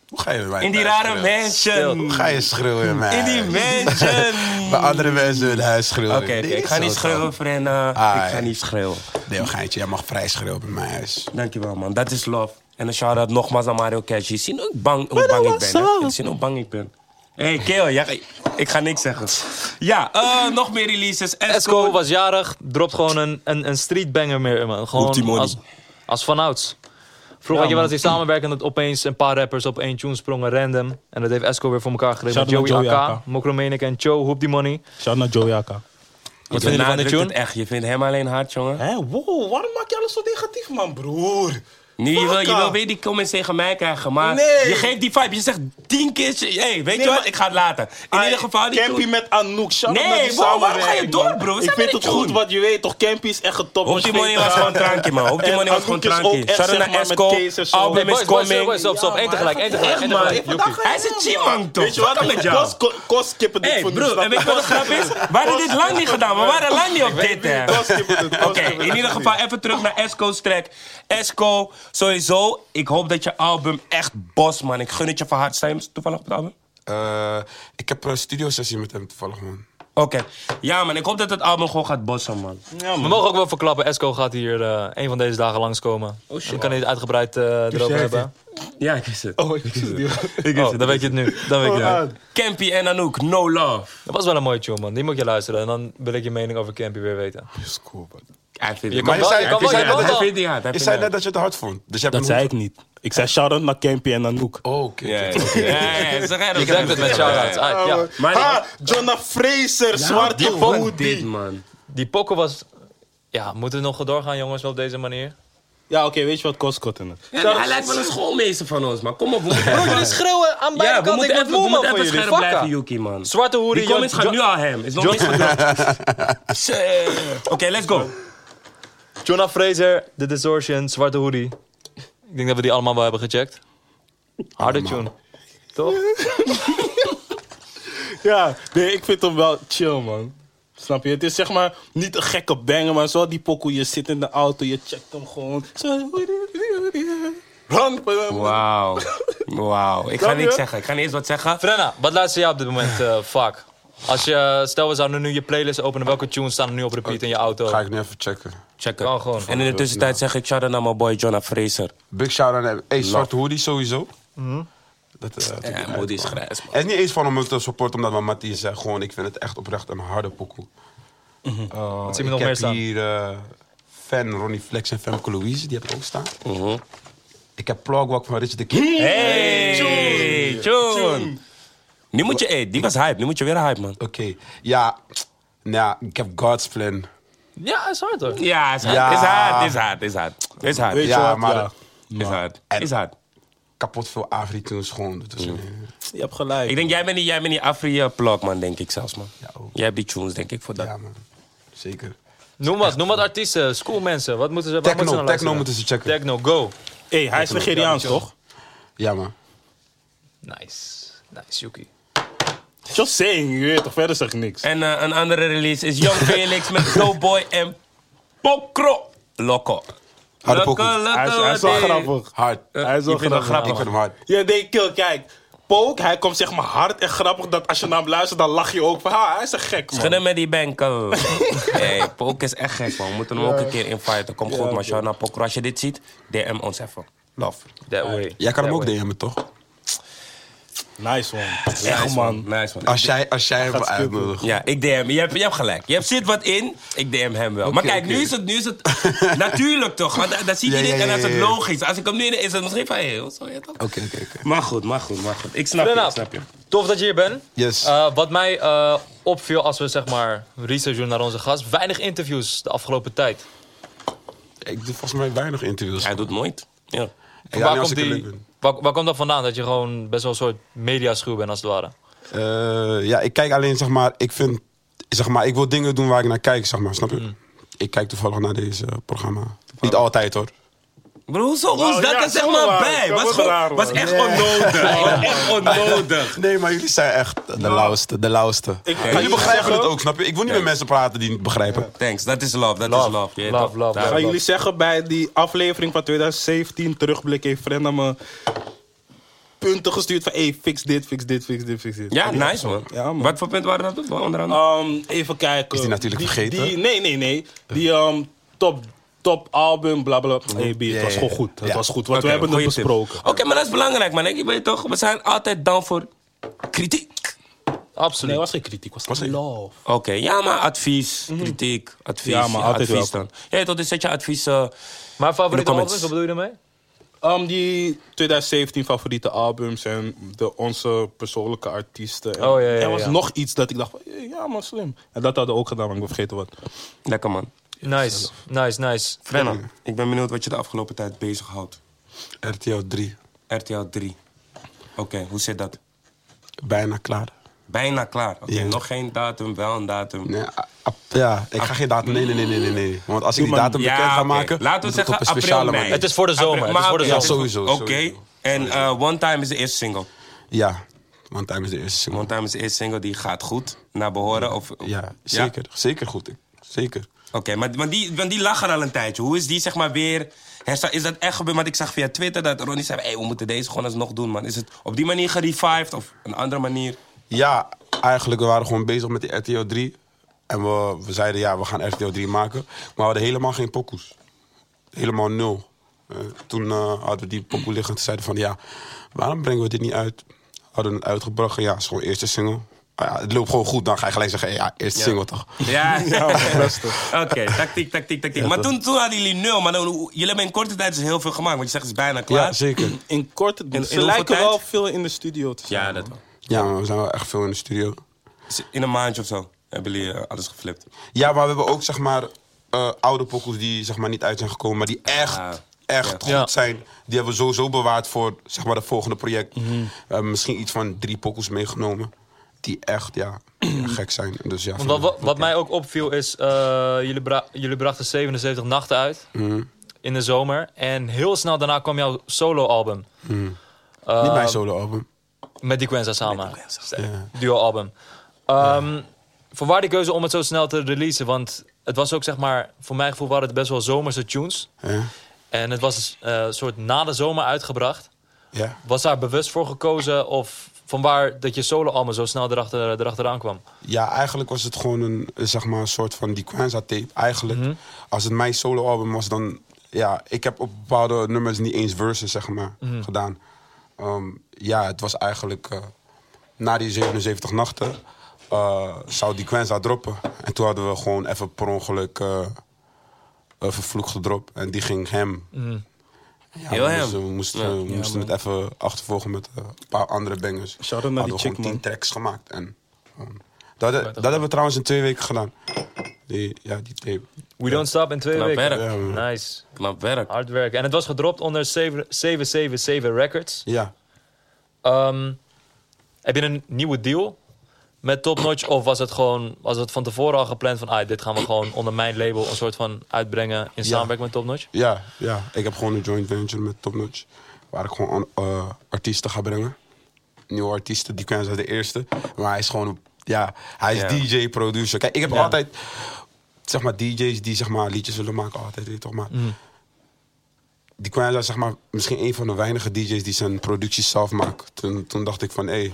B: Hoe ga je bij mij
A: In die
B: thuis
A: rare
B: schreeuwen?
A: mensen.
B: Hoe ga je schreeuwen, man?
A: In die mensen.
B: Bij andere mensen hun huis schreeuwen.
A: Oké, oké,
B: Nee,
A: ik ga
B: zo
A: niet
B: dan.
A: schreeuwen, vriend. eh,
B: Ah,
A: ik ga
B: ja.
A: niet schreeuwen.
B: Nee, hoor, geintje, jij mag vrij schreeuwen bij mijn huis.
A: Dankjewel, man. Dat is love. En een shout-out nogmaals aan Mario Cash. Je ziet hoe bang, hoe bang ik ben. hè. Je ziet hoe bang ik ben. Hé, hey, Keel, jij- ik ga niks zeggen. Ja, eh, nog meer releases.
C: Esco was jarig, dropt gewoon een, een, een streetbanger meer, man.
A: Hoeft die
C: Gewoon
A: money.
C: als, als vanouds. Vroeger had je wel eens die samenwerking dat opeens een paar rappers op één tune sprongen random. En dat heeft Esco weer voor elkaar gekregen.
D: Shout-out
C: Joey,
D: naar Joey
C: AK,
D: AK.
C: Mokromenik en Cho, Hoop die money.
D: Shout naar Joe Jaka.
C: Wat vinden jullie van de
A: benadrukt het
C: tune?
A: echt. Je vindt hem alleen hard, jongen.
E: Hé, wow, waarom maak je alles zo negatief, man, broer?
A: Nu, je, wil, je
E: Fuck,
A: wil
E: ah.
A: weer die comments tegen mij krijgen, maar
E: Nee.
A: je geeft die vibe. Je zegt tien keer, hé, hey, weet
E: Nee,
A: je wat,
E: maar-
A: ik ga het laten. In
D: Ah,
A: ieder geval, die
E: Campy
A: tune-
E: met Anouk. Shout
A: Nee,
E: out naar die
A: wow, waarom
E: samenwerking,
A: ga je door,
E: man.
A: bro? We
E: Ik
A: zijn
E: vind
A: met
E: het
A: die
E: goed
A: tune.
E: wat je weet, toch? Campy is echt een top.
A: Op die money was gewoon een trankje, man. Op die
E: En
A: money was gewoon
E: Anouk is ook
A: trankje.
E: echt,
A: Shout
E: zeg
A: out naar
E: maar, met
A: Esco.
E: Kees en zo.
A: Album
C: Hey,
A: is
C: boys, boys, boys, boys,
A: coming.
C: stop, stop. Eén tegelijk, één tegelijk, één tegelijk. Joekie.
A: Hij is een G-man, toch?
E: Weet je wat?
A: Fuck
E: Ik
A: met jou.
E: was ko- kost kippendik
A: Hé,
E: voor nu,
A: broer,
E: snap
A: en weet je
E: je?
A: wat de grap is? We hadden dit lang niet gedaan, maar we waren lang niet op dit, hè.
E: Koskippendik,
A: Oké,
E: koskippendik.
A: in ieder geval even terug naar Esco's track. Esco, sowieso, ik hoop dat je album echt bos, man. Ik gun het je van harte. Sta je toevallig op het album?
B: Eh, ik heb een studiosessie met hem toevallig, man.
A: Oké. Ja, man. Ik hoop dat het album gewoon gaat bossen, man.
E: Ja,
C: We
E: man.
C: mogen ook wel verklappen, Esco gaat hier eh, een van deze dagen langskomen. Oh, dan kan hij het uitgebreid eh, erover hebben.
A: Ja, ik wist het.
E: Oh, ik wist het niet.
C: Oh, dan weet je het nu. Dan weet je het.
E: man.
C: nu.
A: Campy en Anouk, No Love.
C: Dat was wel een mooie tune, man. Die moet je luisteren. En dan wil ik je mening over Campy weer weten.
B: is cool, man.
A: Hij vindt
C: Je
A: het
C: kan
B: je
C: wel,
B: zei-
C: je kan
B: je
C: wel,
B: zei
C: je kan
B: dat
A: Hij
C: wel.
A: vindt die hard. hij
B: Je
A: vindt
B: zei
A: die
B: net dat je het hard vond. Dus je hebt
D: Dat
B: hem
D: zei
B: goed-
D: ik niet. Ik zei shout-out naar Campy en Anouk.
B: Oh, oké.
A: hard. Ja, ja, ja, ja, zeg jij dat
C: Ik denk het met shout-outs. Ah, ja.
A: Maar-
E: Ha, Jonna Fraser,
A: Die
E: zwarte
A: man dit,
E: body.
A: man.
C: Die pokken was... Ja, moet het nog doorgaan, jongens, op deze manier?
D: Ja, oké, weet je wat Koskot in het?
A: Ja, hij lijkt wel een schoolmeester van ons, man. Kom op, we moeten
C: Bro, jullie
A: even...
C: schreeuwen aan beide
A: Ja, we
C: kanten.
A: moeten
C: Ik
A: even,
C: word moe,
A: we moeten
C: man, voor
A: even
C: jullie.
A: scherp
C: Fuck,
A: blijven,
C: ja.
A: Yuki, man.
C: Zwarte hoeren,
A: Die comments
C: Jan-
A: gaan nu
C: Jan-
A: al hem. Is nog niks gedaan. Shit. Oké, let's go.
C: Jonah Fraser, The Distortion, Zwarte Hoodie. Ik denk dat we die allemaal wel hebben gecheckt. Harde tune. Toch?
D: Ja, nee, ik vind hem wel chill, man. Snap je? Het is zeg maar niet een gekke banger, maar zo die pokoe. Je zit in de auto, je checkt hem gewoon. Zo.
E: Run.
A: Wauw. Wauw. Ik ga
D: Snap je?
A: niks zeggen. Ik ga niet eens wat zeggen.
C: Frenna, wat luister jij op dit moment eh vaak? Als je, stel we zouden nu je playlist openen, welke tunes staan er nu op repeat in je auto?
B: Ga ik nu even checken.
A: Checken.
C: Kan gewoon.
A: En in de tussentijd zeg ik shout-out naar mijn boy Jonah Fraser.
B: Big shout-out aan Hey, Zwarte Hoodie sowieso.
C: Mhm.
B: Dat, eh, dat-
A: Ja, moeder is grijs, man.
B: Het is niet eens van om hem te supporten, omdat mijn Mattie zei gewoon, ik vind het echt oprecht een harde pokoe.
A: Mhm.
B: Eh,
C: zien we nog
B: ik
C: meer
B: heb
C: staan?
B: hier eh, fan Ronnie Flex en Femke Louise, die heb ik ook staan.
A: Mhm.
B: Ik heb Plogwalk van Richard de King.
A: Hey, Tjoen. Nu moet je, hey, die was hype. Nu moet je weer hype, man.
B: Oké, ja, nou, ik heb God's Plan.
C: Ja, is hard hoor.
A: Ja, is hard.
B: Ja.
A: Is hard, is hard, is hard. Is hard.
D: Weet
A: Is
D: je
B: Ja,
D: wat?
B: maar-
D: Ja.
A: hard.
B: En-
A: Is hard.
B: Kapot veel Afri-tunes gewoon. Dat is, eh,
D: Je hebt gelijk.
A: Ik denk, jij bent die, jij bent die Afri-plug, man, denk ik zelfs, man.
B: Ja, ook.
A: Jij hebt die tunes, denk ik, voor dat.
B: Ja man, zeker.
C: Noem wat, noem wat artiesten, schoolmensen. Wat moeten ze waar
B: Techno,
C: moeten ze
B: techno
C: naar
B: moeten ze checken.
C: luisteren? Techno, go.
D: hey, hij is Nigeriaans, toch?
B: Ja man.
C: Nice. Nice, Yuki.
D: Just saying, je weet toch? Verder zeg ik niks.
A: En eh, een andere release is Young Felix met Doughboy en Pokro Loco.
B: Harde pokoe.
D: Hij is, hij is wel
A: wat, hey.
D: grappig.
B: Hard.
D: Hij is wel
A: Ik vind het
B: Ik
D: grappig.
A: grappig.
B: vind hem hard.
D: Ja, nee, kill, kijk. Poke, hij komt zeg maar hard en grappig dat als je naar hem luistert, dan lach je ook van, ha, hij is een gek, man.
A: Schudden met die banken. hey, Pok is echt gek, man. We moeten hem ook een keer inviten. Kom goed, maar shout naar Pokro. Als je dit ziet, DM ons even. Love.
C: That way.
B: Jij kan hem
C: That
B: ook
C: way.
B: DM'en toch?
D: Nice, man.
A: Nice,
D: Echt, man.
A: Nice, man.
B: Als jij, als jij hem uitnodigt.
A: Ja, ik DM. Je hebt, je hebt gelijk. Je hebt, zit wat in, ik DM hem wel. maar kijk,
B: oké.
A: nu is het... Nu is het natuurlijk toch, want dan- dan ziet hij
B: Ja,
A: dit
B: ja,
A: en dan is
B: ja,
A: het
B: ja, ja.
A: logisch. Als ik hem nu... Is het misschien van... Hey, hoe zou je dat?
B: Oké, oké, oké.
A: Maar goed, maar goed, maar goed. Ik snap je,
C: Frenna,
A: ik snap je.
C: tof dat je hier bent.
B: Yes.
C: Eh, wat mij eh, opviel als we zeg maar research doen naar onze gast, weinig interviews de afgelopen tijd.
B: Ik doe volgens mij weinig interviews.
A: Hij doet nooit. Ja.
B: Ja,
C: waar,
B: niet als
C: komt
B: ik er
C: die,
B: leuk ben.
C: waar, waar komt dat vandaan? Dat je gewoon best wel een soort mediaschuw bent als het ware.
B: Eh, ja, ik kijk alleen, zeg maar, ik vind, zeg maar, ik wil dingen doen waar ik naar kijk, zeg maar, snap je? Ik kijk toevallig naar deze eh, programma. Niet altijd hoor.
A: Bro, hoezo? Hoe is
D: Nou,
A: dat
D: ja,
A: er zeg
D: zo
A: maar
D: waar.
A: bij?
D: Dat
A: Was,
D: wordt
A: gewoon-
D: raar,
A: was
D: man.
A: echt onnodig. Was echt onnodig.
B: Nee, maar jullie zijn echt de lauwste, de lauwste.
D: kan
B: maar
D: jullie
B: jullie begrijpen
D: zeggen-
B: het ook, snap je? Ik wil niet met mensen praten die het begrijpen.
A: Thanks, dat is love, dat
B: Love.
A: is love. Yeah,
C: Love,
A: toch?
C: love,
A: Daar-
D: Gaan jullie zeggen bij die aflevering van 2017 terugblik heeft Frenna me punten gestuurd van hey, fix dit, fix dit, fix dit, fix dit.
A: Ja, nice man.
D: Ja, man.
A: Wat voor punten waren
B: Ah,
A: dat? Onder andere?
D: Ehm, even kijken.
B: Is die natuurlijk vergeten?
D: die- nee, nee, nee. Die ehm, top top album, bla bla. bla. Hey, B, het
B: Ja,
D: was
B: ja,
D: gewoon
B: ja.
D: goed. Het
B: Ja.
D: was goed, want
A: Oké,
D: we hebben het
A: goeie tip.
D: besproken.
A: Oké, maar dat is belangrijk, man. Ik je weet toch, we zijn altijd down voor kritiek.
D: Nee,
C: Absoluut.
D: was geen kritiek, was, love.
A: Oké, ja, maar advies,
B: Mhm.
A: kritiek, advies.
D: Ja, maar altijd
A: advies
D: welkom.
A: dan. Ja, tot is zet je advies. eh,
C: Maar
A: In de
C: favoriete
A: comments.
C: albums, wat bedoel je daarmee?
D: Ehm, die 2017 favoriete albums en de, onze persoonlijke artiesten. En
C: Oh, ja, ja,
D: Er was
C: ja.
D: nog iets dat ik dacht, van, ja man, slim. En dat hadden we ook gedaan, maar ik ben vergeten wat.
A: lekker, man.
C: Nice, nice, nice.
A: Frenna, ik ben benieuwd wat je de afgelopen tijd bezighoudt.
B: RTL 3.
A: RTL 3. Oké, hoe zit dat?
B: Bijna klaar.
A: Bijna klaar. Oké,
B: Ja.
A: Nog geen datum, wel een datum.
B: Nee, a- a- ja, ik ga geen datum. Nee, nee, nee, nee, nee, nee. Want als ik die
D: maar-
B: datum bekend
A: oké.
B: ga maken.
A: Laten we
B: moet ik
A: zeggen
B: op een
A: april,
B: speciale
A: mei.
B: manier.
C: Het is voor de zomer, het is voor de
A: maar-
B: zomer. Ja, sowieso,
A: Oké,
B: sowieso.
A: en eh, One Time is de eerste single.
B: Ja, want time is de eerste single.
A: One Time is de eerste single, die gaat goed. Naar behoren of...
B: Ja, zeker. Zeker goed. ik- Zeker.
A: Oké, maar want die, want die lag er al een tijdje. Hoe is die zeg maar weer... hersta- Is dat echt gebeurd? Want ik zag via Twitter dat Ronnie zei... Hey, we moeten deze gewoon alsnog doen, man. Is het op die manier gerevived of een andere manier?
B: Ja, eigenlijk we waren gewoon bezig met die RTL 3. En we, we zeiden ja, we gaan RTL 3 maken. Maar we hadden helemaal geen pokoes. Helemaal nul. Eh, toen eh, hadden we die pokoe liggen en toen zeiden we van ja, waarom brengen we dit niet uit? Hadden het uitgebracht en ja, het is gewoon eerste single. Maar ja, het loopt gewoon goed, dan ga je gelijk zeggen ja, eerste single toch.
A: Ja,
B: rustig.
A: Oké, tactiek, tactiek, tactiek. maar toen, toen hadden jullie nul. Maar dan, jullie hebben in korte tijd dus heel veel gemaakt. Want je zegt het is bijna klaar.
B: Ja, zeker.
D: In korte,
A: in
D: ze
A: hoeveel
D: lijken
A: tijd?
D: wel veel in de studio te zijn.
A: Ja, dat wel.
B: Ja, maar we zijn wel echt veel in de studio.
A: Dus In een maandje of zo hebben jullie eh, alles geflipt.
B: Ja, maar we hebben ook zeg maar eh, oude pokoes die zeg maar niet uit zijn gekomen, maar die echt,
A: Ah,
B: echt
A: ja.
B: goed
C: Ja.
B: zijn. Die hebben we sowieso bewaard voor zeg maar het volgende project. We hebben misschien iets van drie pokoes meegenomen die echt ja gek zijn. Dus ja.
C: Want
B: van-
C: wat, wat, wat mij ook opviel is, eh, jullie, bra- jullie brachten 77 nachten uit in de zomer. En heel snel daarna kwam jouw solo-album. Eh,
B: niet mijn solo album.
C: Met Die Quenza samen. Duo-album. Ehm Voorwaar die keuze om het zo snel te releasen? Want het was ook, zeg maar, voor mijn gevoel waren het best wel zomerse tunes.
B: Ja.
C: En het was eh, een soort na de zomer uitgebracht.
B: Ja.
C: Was daar bewust voor gekozen of vanwaar dat je solo-album zo snel erachter, erachteraan kwam?
B: Ja, eigenlijk was het gewoon een, eh, zeg maar, een soort van die Kwanzaa-tape. Eigenlijk, als het mijn solo-album was, dan... Ja, ik heb op bepaalde nummers niet eens verses, zeg maar, gedaan. Ehm, ja, het was eigenlijk... eh, na die 77 nachten eh, zou die Kwanzaa droppen. En toen hadden we gewoon even per ongeluk... eh een vervloekte drop. En die ging hem... Ja,
A: Heel
B: we
A: hem.
B: moesten, we moesten,
A: Ja.
B: we moesten het even achtervolgen met eh, een paar andere bangers.
D: Shout-out naar
B: Hadden
D: die
B: we
D: chick,
B: gewoon
D: man.
B: tien tracks gemaakt. En gewoon- dat, dat hebben we trouwens in twee weken gedaan. Die, ja, die tape.
C: We Don't Stop in twee
A: Knap
C: weken.
A: werk.
B: Ja, man.
C: Nice.
A: Knap werk.
C: Hard werk. En het was gedropt onder 7- 777 Records.
B: Ja.
C: Ehm, heb je een nieuwe deal met Top Notch? Of was het, gewoon, was het van tevoren al gepland van... Ah, dit gaan we gewoon onder mijn label een soort van uitbrengen... in samenwerking met Top Notch?
B: Ja, ja. Ik heb gewoon een joint venture met Top Notch. Waar ik gewoon eh, artiesten ga brengen. Nieuwe artiesten, die kunnen zijn de eerste. Maar hij is gewoon, een- ja, hij is
A: Ja.
B: DJ, producer. Kijk, ik heb altijd, zeg maar, DJ's die zeg maar liedjes willen maken, altijd, weet je toch maar. Die Kwanza is zeg maar, misschien een van de weinige DJ's die zijn producties zelf maakt. Toen, toen dacht ik van, hé,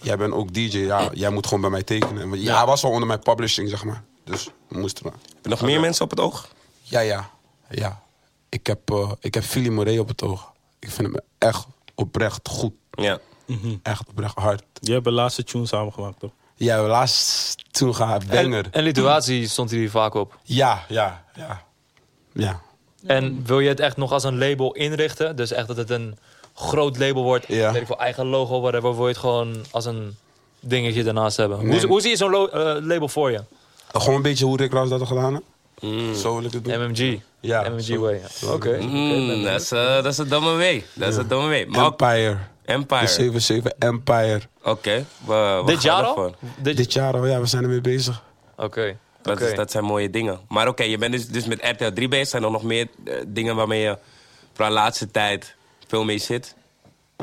B: jij bent ook DJ. Ja, jij moet gewoon bij mij tekenen. Want Ja, hij was al onder mijn publishing, zeg maar. Dus we moesten maar.
A: Heb je nog meer mensen op het oog?
B: Ja, ja. ja. Ik heb, eh ik heb Philly Moray op het oog. Ik vind hem echt oprecht goed.
A: Ja.
B: Echt oprecht hard.
D: Je hebt de laatste tune samengemaakt, toch?
B: Ja, laatst toen ga banger.
C: En, en Lituatie stond hier vaak op.
B: Ja, ja, ja. Ja.
C: En wil je het echt nog als een label inrichten? Dus echt dat het een groot label wordt.
B: Ja.
C: Weet ik veel, eigen logo, whatever. Wil je het gewoon als een dingetje daarnaast hebben?
B: Nee.
C: Hoe, hoe zie je zo'n lo- eh, label voor je?
B: Gewoon een beetje hoe Rick Ross dat had gedaan. hè? Zo wil ik het doen.
C: MMG.
B: Ja,
C: MMG
B: zo.
C: way. Oké.
A: Mm, dat, is, eh, dat is een domme way. Dat is een domme way. Maar ook-
B: Empire. De
A: Empire.
B: 77 Empire.
A: Oké. we- we
C: Dit
A: gaan
C: jaar al?
A: ervoor.
C: Dit-
B: Dit jaar al, ja, we zijn ermee bezig.
C: Oké.
A: Dat,
C: Oké.
A: is, dat zijn mooie dingen. Maar oké, je bent dus, dus met RTL 3 bezig. Zijn er nog meer eh, dingen waarmee je voor de laatste tijd veel mee zit?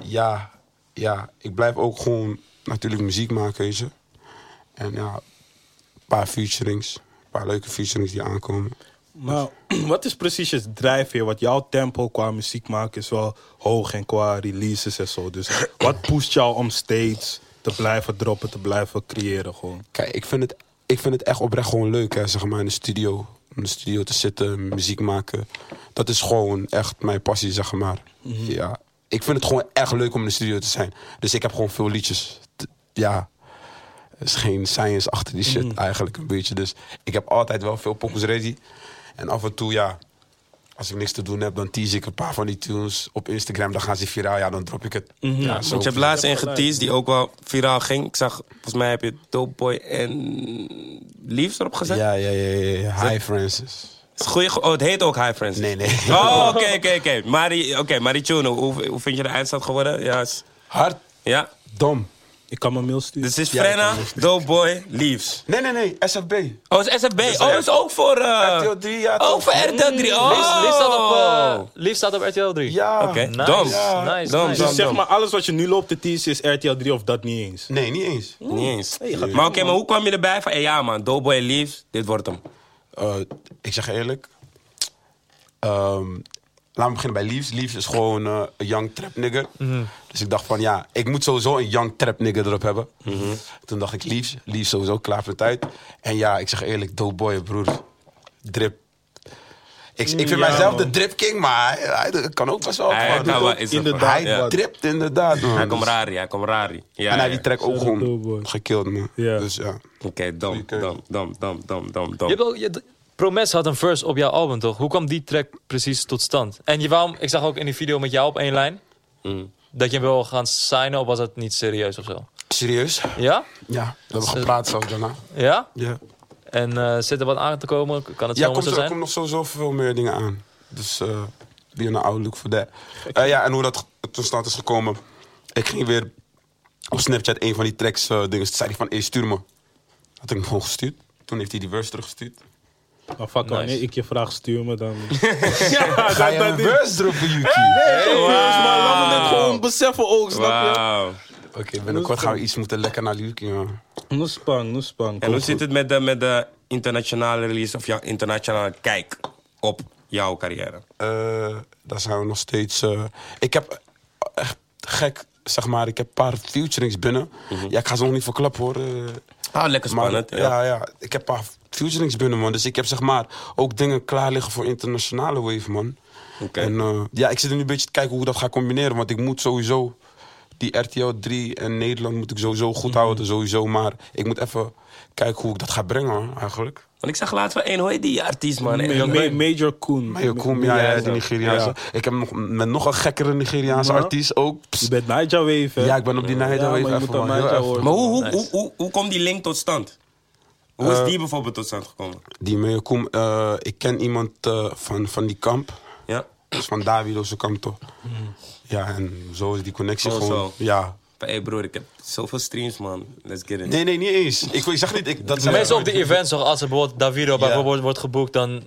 B: Ja, ja. Ik blijf ook gewoon natuurlijk muziek maken, weet je. En ja, een paar featurings. Een paar leuke featurings die aankomen.
D: Maar Nou, wat is precies je drijfveer? Want jouw tempo qua muziek maken is wel hoog en qua releases en zo. Dus wat pusht jou om steeds te blijven droppen, te blijven creëren gewoon?
B: Kijk, ik vind het, ik vind het echt oprecht gewoon leuk, hè, zeg maar, in de studio. in de studio te zitten, muziek maken. Dat is gewoon echt mijn passie, zeg maar. Ja, ik vind het gewoon echt leuk om in de studio te zijn. Dus ik heb gewoon veel liedjes. T- ja, er is geen science achter die shit eigenlijk een beetje. Dus ik heb altijd wel veel pokus ready. En af en toe, ja, als ik niks te doen heb, dan tease ik een paar van die tunes op Instagram. Dan gaan ze viraal, ja, dan drop ik het. Ja, zo.
A: Want je hebt laatst een geteased die ook wel viraal ging. Ik zag, volgens mij heb je Dope Boy en Liefs erop gezet.
B: Ja, ja, ja, ja, ja. Hi Francis.
A: Is het goeie ge- oh, het heet ook High Friends.
B: Nee, nee.
A: Oh, oké, oké, oké. Maar die- Oké, maar die tune, hoe, hoe vind je de eindstand geworden? Ja, is-
B: Hard,
A: ja.
B: dom.
D: Ik kan mijn mail sturen.
A: Dus het is
B: Ja, ik
A: Frenna,
B: kan het niet.
A: Dope Boy, Leaves.
B: Nee, nee, nee, SFB.
A: Oh, het is SFB.
B: Dus,
A: oh, dat is ook voor... eh,
B: RTL 3, ja,
A: Oh,
B: toch?
A: voor RTL 3. Oh!
C: Lief, lief staat op, eh, lief staat op RTL 3.
B: Ja.
A: Oké,
C: Nice,
A: dom.
C: nice, nice.
A: Dom,
D: Dus
A: dom,
D: zeg
A: dom.
D: maar, alles wat je nu loopt te teasen is RTL 3 of dat niet eens.
B: Nee, niet eens.
A: Niet eens. maar oké, maar hoe kwam je erbij van... Hey, ja man, Dope Boy en Leaves, dit wordt hem.
B: Eh, ik zeg eerlijk. Ehm laten we beginnen bij Leaves. Leaves is gewoon eh, een young trap nigger.
A: Mhm.
B: Dus ik dacht van ja, ik moet sowieso een young trap nigger erop hebben.
A: Mhm.
B: Toen dacht ik Leaves. Leaves sowieso klaar voor de tijd. En ja, ik zeg eerlijk, dope boy broer. Drip. Ik, ik vind mijzelf de drip king, maar hij, hij kan ook best wel.
A: Hij
B: gewoon-
A: kan wel eens-
B: hij
A: ja.
B: dript inderdaad. Man.
A: Hij komt rari, hij komt rari. Ja,
B: en hij
A: ja.
B: die track ook
D: dope
B: gewoon
D: boy.
B: gekild man.
D: Ja.
B: Dus ja.
A: Oké, dom,
B: Oké.
A: dom, dom, dom, dom, dom,
C: Je hebt
A: dom.
C: ook, je- Promes had een verse op jouw album, toch? Hoe kwam die track precies tot stand? En je waarom, ik zag ook in die video met jou op één lijn...
A: Mm.
C: dat je wil gaan signen, of was dat niet serieus of zo?
B: Serieus?
C: Ja?
B: Ja, we hebben gepraat zo daarna.
C: Ja?
B: Ja.
C: En eh, zit er wat aan te komen? Kan het
B: Ja,
C: zomaar
B: komt
C: zo
B: er
C: zijn?
B: komt nog sowieso veel meer dingen aan. Dus eh weer een outlook voor dat. Eh, ja, en hoe dat tot stand is gekomen. Ik ging weer op Snapchat een van die tracks eh, dingen. Toen zei hij van, hey, stuur me. Had ik hem gewoon gestuurd. Toen heeft hij die verse teruggestuurd.
D: Maar fuck,
C: Nice.
D: wanneer ik je vraag stuur me dan.
B: Ga je een verse droppen, Yuki?
E: Maar laten we dit gewoon beseffen ook, snap je?
A: Wauw.
B: Oké, binnenkort gaan we iets moeten lekker naar Yuki, man.
D: Noespang, noespang.
A: En hoe zit het met de, met de internationale release of jouw internationale kijk op jouw carrière?
B: Eh, daar zijn we nog steeds. eh, ik heb echt gek, zeg maar. Ik heb een paar featurings binnen. Ja, ik ga ze nog niet verklappen hoor. eh.
A: Ah, lekker
B: Maar-
A: Mhm. spannend. ja.
B: ja. ja, Ik heb een paar futurings binnen, man. Dus ik heb zeg maar ook dingen klaar liggen voor internationale wave, man.
A: Oké.
B: En eh, ja, ik zit nu een beetje te kijken hoe ik dat ga combineren. Want ik moet sowieso die RTL 3 en Nederland moet ik sowieso goed
A: Mhm.
B: houden, sowieso. Maar ik moet even kijken hoe ik dat ga brengen, man, eigenlijk.
A: Want ik zag laatst wel één, hoe heet die artiest, man?
D: Ma-
A: Eén-
D: Ma- Major Koen.
B: Maar Jokum, ja, ja, die Nigeriaanse.
D: Ja.
B: Ik heb nog, met nog een gekkere Nigeriaanse
D: Maar?
B: artiest ook. Psst.
D: Je bent Naija Wave, hè?
B: Ja, ik ben op die Nijda
D: Ja, maar
B: wave
D: je
B: even,
D: moet aan
B: man. Heel
D: Nigel
B: even.
D: horen.
A: Maar hoe, hoe,
C: Nice.
A: hoe, hoe, hoe komt die link tot stand? Hoe is die bijvoorbeeld tot stand gekomen?
B: Die Mejokum, eh, ik ken iemand eh, van, van die kamp.
A: Ja?
B: Dus van Davido zijn kant toch. Ja, en zo is die connectie
A: Oh,
B: gewoon.
A: zo.
B: Ja.
A: Hé hey broer, ik heb zoveel streams, man. Let's get it.
B: Nee, nee, niet eens. Ik, wil- ik zeg niet, ik, dat zeg
C: Meestal op
B: ik
C: de
B: nooit.
C: events, toch, als er bijvoorbeeld Davido bijvoorbeeld wordt geboekt, dan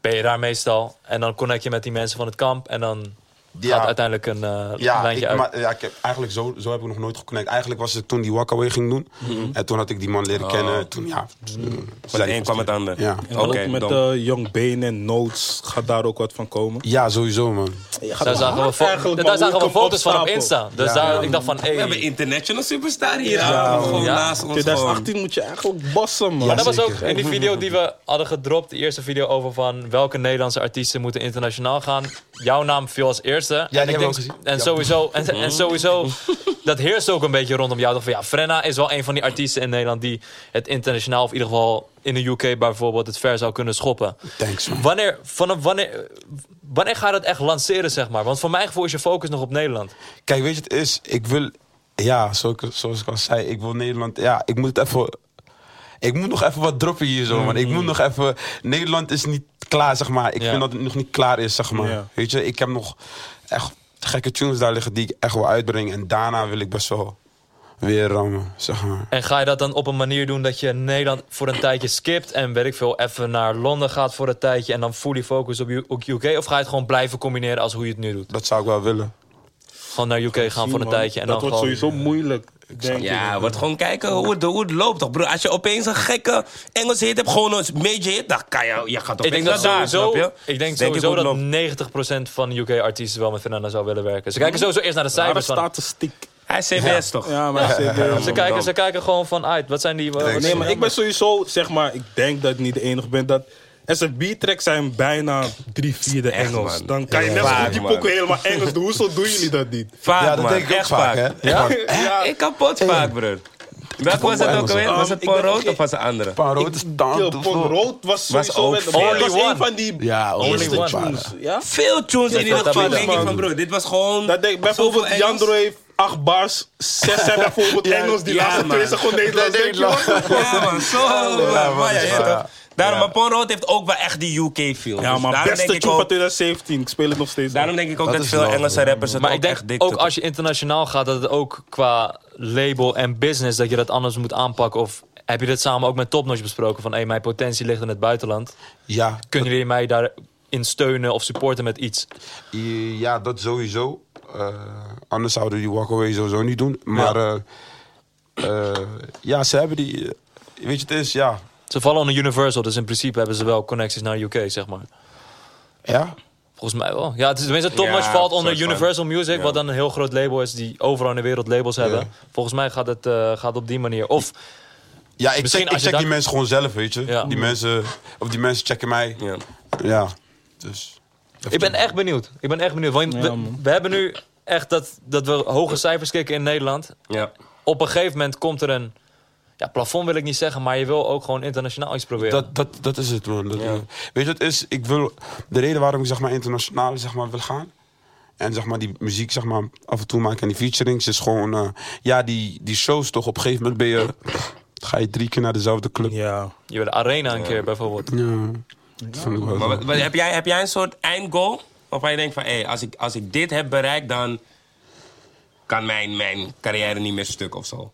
C: ben je daar meestal. En dan connect je met die mensen van het kamp en dan
B: Ja.
C: gaat uiteindelijk een eh,
B: Ja,
C: lijntje
B: ik,
C: uit.
B: maar, ja ik heb, eigenlijk zo, zo heb ik nog nooit geconnect. Eigenlijk was het toen die Wakaway ging doen.
C: Mhm.
B: En toen had ik die man leren
C: Oh.
B: kennen. Toen, ja,
A: Van het een kwam het ander.
B: Ja.
D: En
A: Oké,
D: ook met
A: dom.
D: eh, Young Bane en Notes gaat daar ook wat van komen.
B: ja, sowieso man.
C: Daar zagen we, fo-
D: eigenlijk,
C: daar
D: maar hoe
C: zagen we
D: ik hem
C: foto's van op
D: opstapel.
C: Insta. Dus daar, ik dacht van, hé.
A: We hebben international superstar hier. Ja, gewoon
C: Ja.
A: naast ons. gewoon.
D: 2018 moet je eigenlijk bassen, man.
C: Maar dat was ook in die video die we hadden gedropt, de eerste video over van welke Nederlandse artiesten moeten internationaal gaan. Jouw naam viel als eerste.
B: die
C: en, ik
B: hebben we
C: denk-
B: ook gezien.
C: en
B: Ja.
C: sowieso, en, en sowieso, dat heerst ook een beetje rondom jou. Dat Van, ja, Frenna is wel een van die artiesten in Nederland die het internationaal, of in ieder geval in de UK bijvoorbeeld, het ver zou kunnen schoppen.
B: Thanks man.
C: Wanneer, vanaf wanneer, wanneer ga je dat echt lanceren, zeg maar? Want voor mijn gevoel is je focus nog op Nederland.
B: Kijk, weet je, het is, ik wil, ja, zo- zoals ik al zei, ik wil Nederland, ja, ik moet het even, ik moet nog even wat droppen hier zo, man. Ik moet nog even, Nederland is niet klaar, zeg maar. Ik
C: Ja.
B: vind dat het nog niet klaar is, zeg maar.
D: Ja.
B: Weet je, ik heb nog echt gekke tunes daar liggen die ik echt wil uitbrengen. En daarna wil ik best wel weer rammen, zeg maar.
C: En ga je dat dan op een manier doen dat je Nederland voor een tijdje skipt en weet ik veel, even naar Londen gaat voor een tijdje en dan fully focus op U- op UK? Of ga je het gewoon blijven combineren als hoe je het nu doet?
B: Dat zou ik wel willen.
C: Gewoon naar UK gaan voor een tijdje en
D: dat
C: dan
D: wordt
C: gewoon...
D: sowieso moeilijk, denk ik.
A: Ja, wordt gewoon kijken hoe het, hoe het loopt toch, broer. Als je opeens een gekke Engelse hit hebt, gewoon een major hit, dan kan je, je gaat
C: Ik denk dat
A: opeens naar daar,
C: sowieso,
A: snap je?
C: ik denk
A: hoe het
C: sowieso dat
A: loopt.
C: 90% van UK-artiesten wel met Fernanda zou willen werken. Ze kijken sowieso eerst naar de
D: Rare
C: cijfers. Van,
D: statistiek.
A: Hij is CBS toch?
D: Ja, maar serieus.
C: ze, kijken, ze kijken gewoon van uit, wat zijn die... wat-
B: Nee,
C: wat-
D: Nee, maar ik ben sowieso, zeg maar, ik denk dat ik niet de enige ben dat En zijn B-tracks zijn bijna drie vierde
A: Echt,
D: Engels.
A: man.
D: Dan kan je
B: Ja,
D: net zo
A: vaak,
D: goed die
A: man.
D: pokken helemaal Engels doen. Hoezo doen jullie dat niet?
A: Vaak,
B: Ja, dat
A: man.
B: denk ik ook
A: Echt
B: vaak, hè? Echt
A: Ja?
B: waar.
A: Ja, ik kapot vaak, broer. Welke was het ook alweer? Was het
D: ik ben
A: Paul Rood
D: verge-
A: of was het andere?
B: Paar rode
D: Yo,
B: staan.
D: Pon Rood was
A: Was
D: sowieso...
A: ook
D: met-
A: veel.
D: maar het was
C: Only
D: een
C: one.
D: van die
B: Ja,
D: eerste
C: only one.
D: tunes. Ja?
A: Veel tunes in ieder
C: dat
A: geval.
C: heb ik
A: Denk ik
D: man.
A: van, broer, dit was gewoon...
D: Dat denk, bijvoorbeeld
A: zoveel Engels.
D: Jandro heeft acht bars. Zes zijn bijvoorbeeld Engels. Die
A: ja,
D: laatste
A: man.
D: twee zijn gewoon Nederlands. Denk je wel?
A: Ja, man, zo. maar-
B: man,
A: maar ja,
B: is
A: je weet
B: waar.
A: toch. Daarom, maar Paul Rood heeft ook wel echt die UK-feel.
D: Ja, maar
A: Dus daarom
D: beste
A: denk, ik
D: tune van
A: ook,
D: 2017. Ik speel het nog steeds.
A: daarom denk ik ook dat,
B: is
A: veel
B: wel-
A: Engelse rappers het
C: Maar
A: ook
C: ik denk
A: echt dik
C: ook
A: doen.
C: als je internationaal gaat, dat het ook qua label en business dat je dat anders moet aanpakken. Of heb je dit samen ook met Topnotch besproken? Van hé, mijn potentie ligt in het buitenland.
B: Ja,
C: Kunnen jullie mij daarin steunen of supporten met iets?
B: Ja, dat sowieso. Eh, anders zouden die walkaway sowieso niet doen. Maar ja, ja ze hebben die. eh, weet je, het is ja.
C: Ze vallen onder Universal, dus in principe hebben ze wel connecties naar UK, zeg maar.
B: Ja,
C: Volgens mij wel. Ja, het is, tenminste, Topnotch
A: Ja,
C: valt onder
A: soort van.
C: Universal Music,
A: Ja.
C: wat dan een heel groot label is die overal in de wereld labels hebben. Volgens mij gaat het eh, gaat op die manier. Of
B: ja ik
C: Misschien
B: check, ik
C: als je
B: check die
C: dat-
B: mensen gewoon zelf, weet je.
C: Ja.
B: Die mensen, of die mensen checken mij. Ja,
A: Ja.
B: dus.
C: Ik ben echt benieuwd. Ik ben echt benieuwd. Want we, we hebben nu echt dat, dat we hoge cijfers kicken in Nederland.
A: Ja.
C: Op een gegeven moment komt er een... Ja, plafond wil ik niet zeggen, maar je wil ook gewoon internationaal iets proberen.
B: Dat, dat, dat is het, man. Dat- Weet je, het is, ik wil, de reden waarom ik zeg maar, internationaal zeg maar, wil gaan. En zeg maar, die muziek zeg maar, af en toe maken en die featurings is gewoon. eh, ja, die, die shows toch. Op een gegeven moment ben je. Ga je drie keer naar dezelfde club.
D: Ja.
C: Je wil de arena een keer bijvoorbeeld.
B: Ja. Dat vond ik wel
A: Maar
B: zo.
A: wat- wat- heb, jij, heb jij een soort eindgoal? Waarvan je denkt van, hé, als, ik, als ik dit heb bereikt, dan kan mijn, mijn carrière niet meer stuk of zo.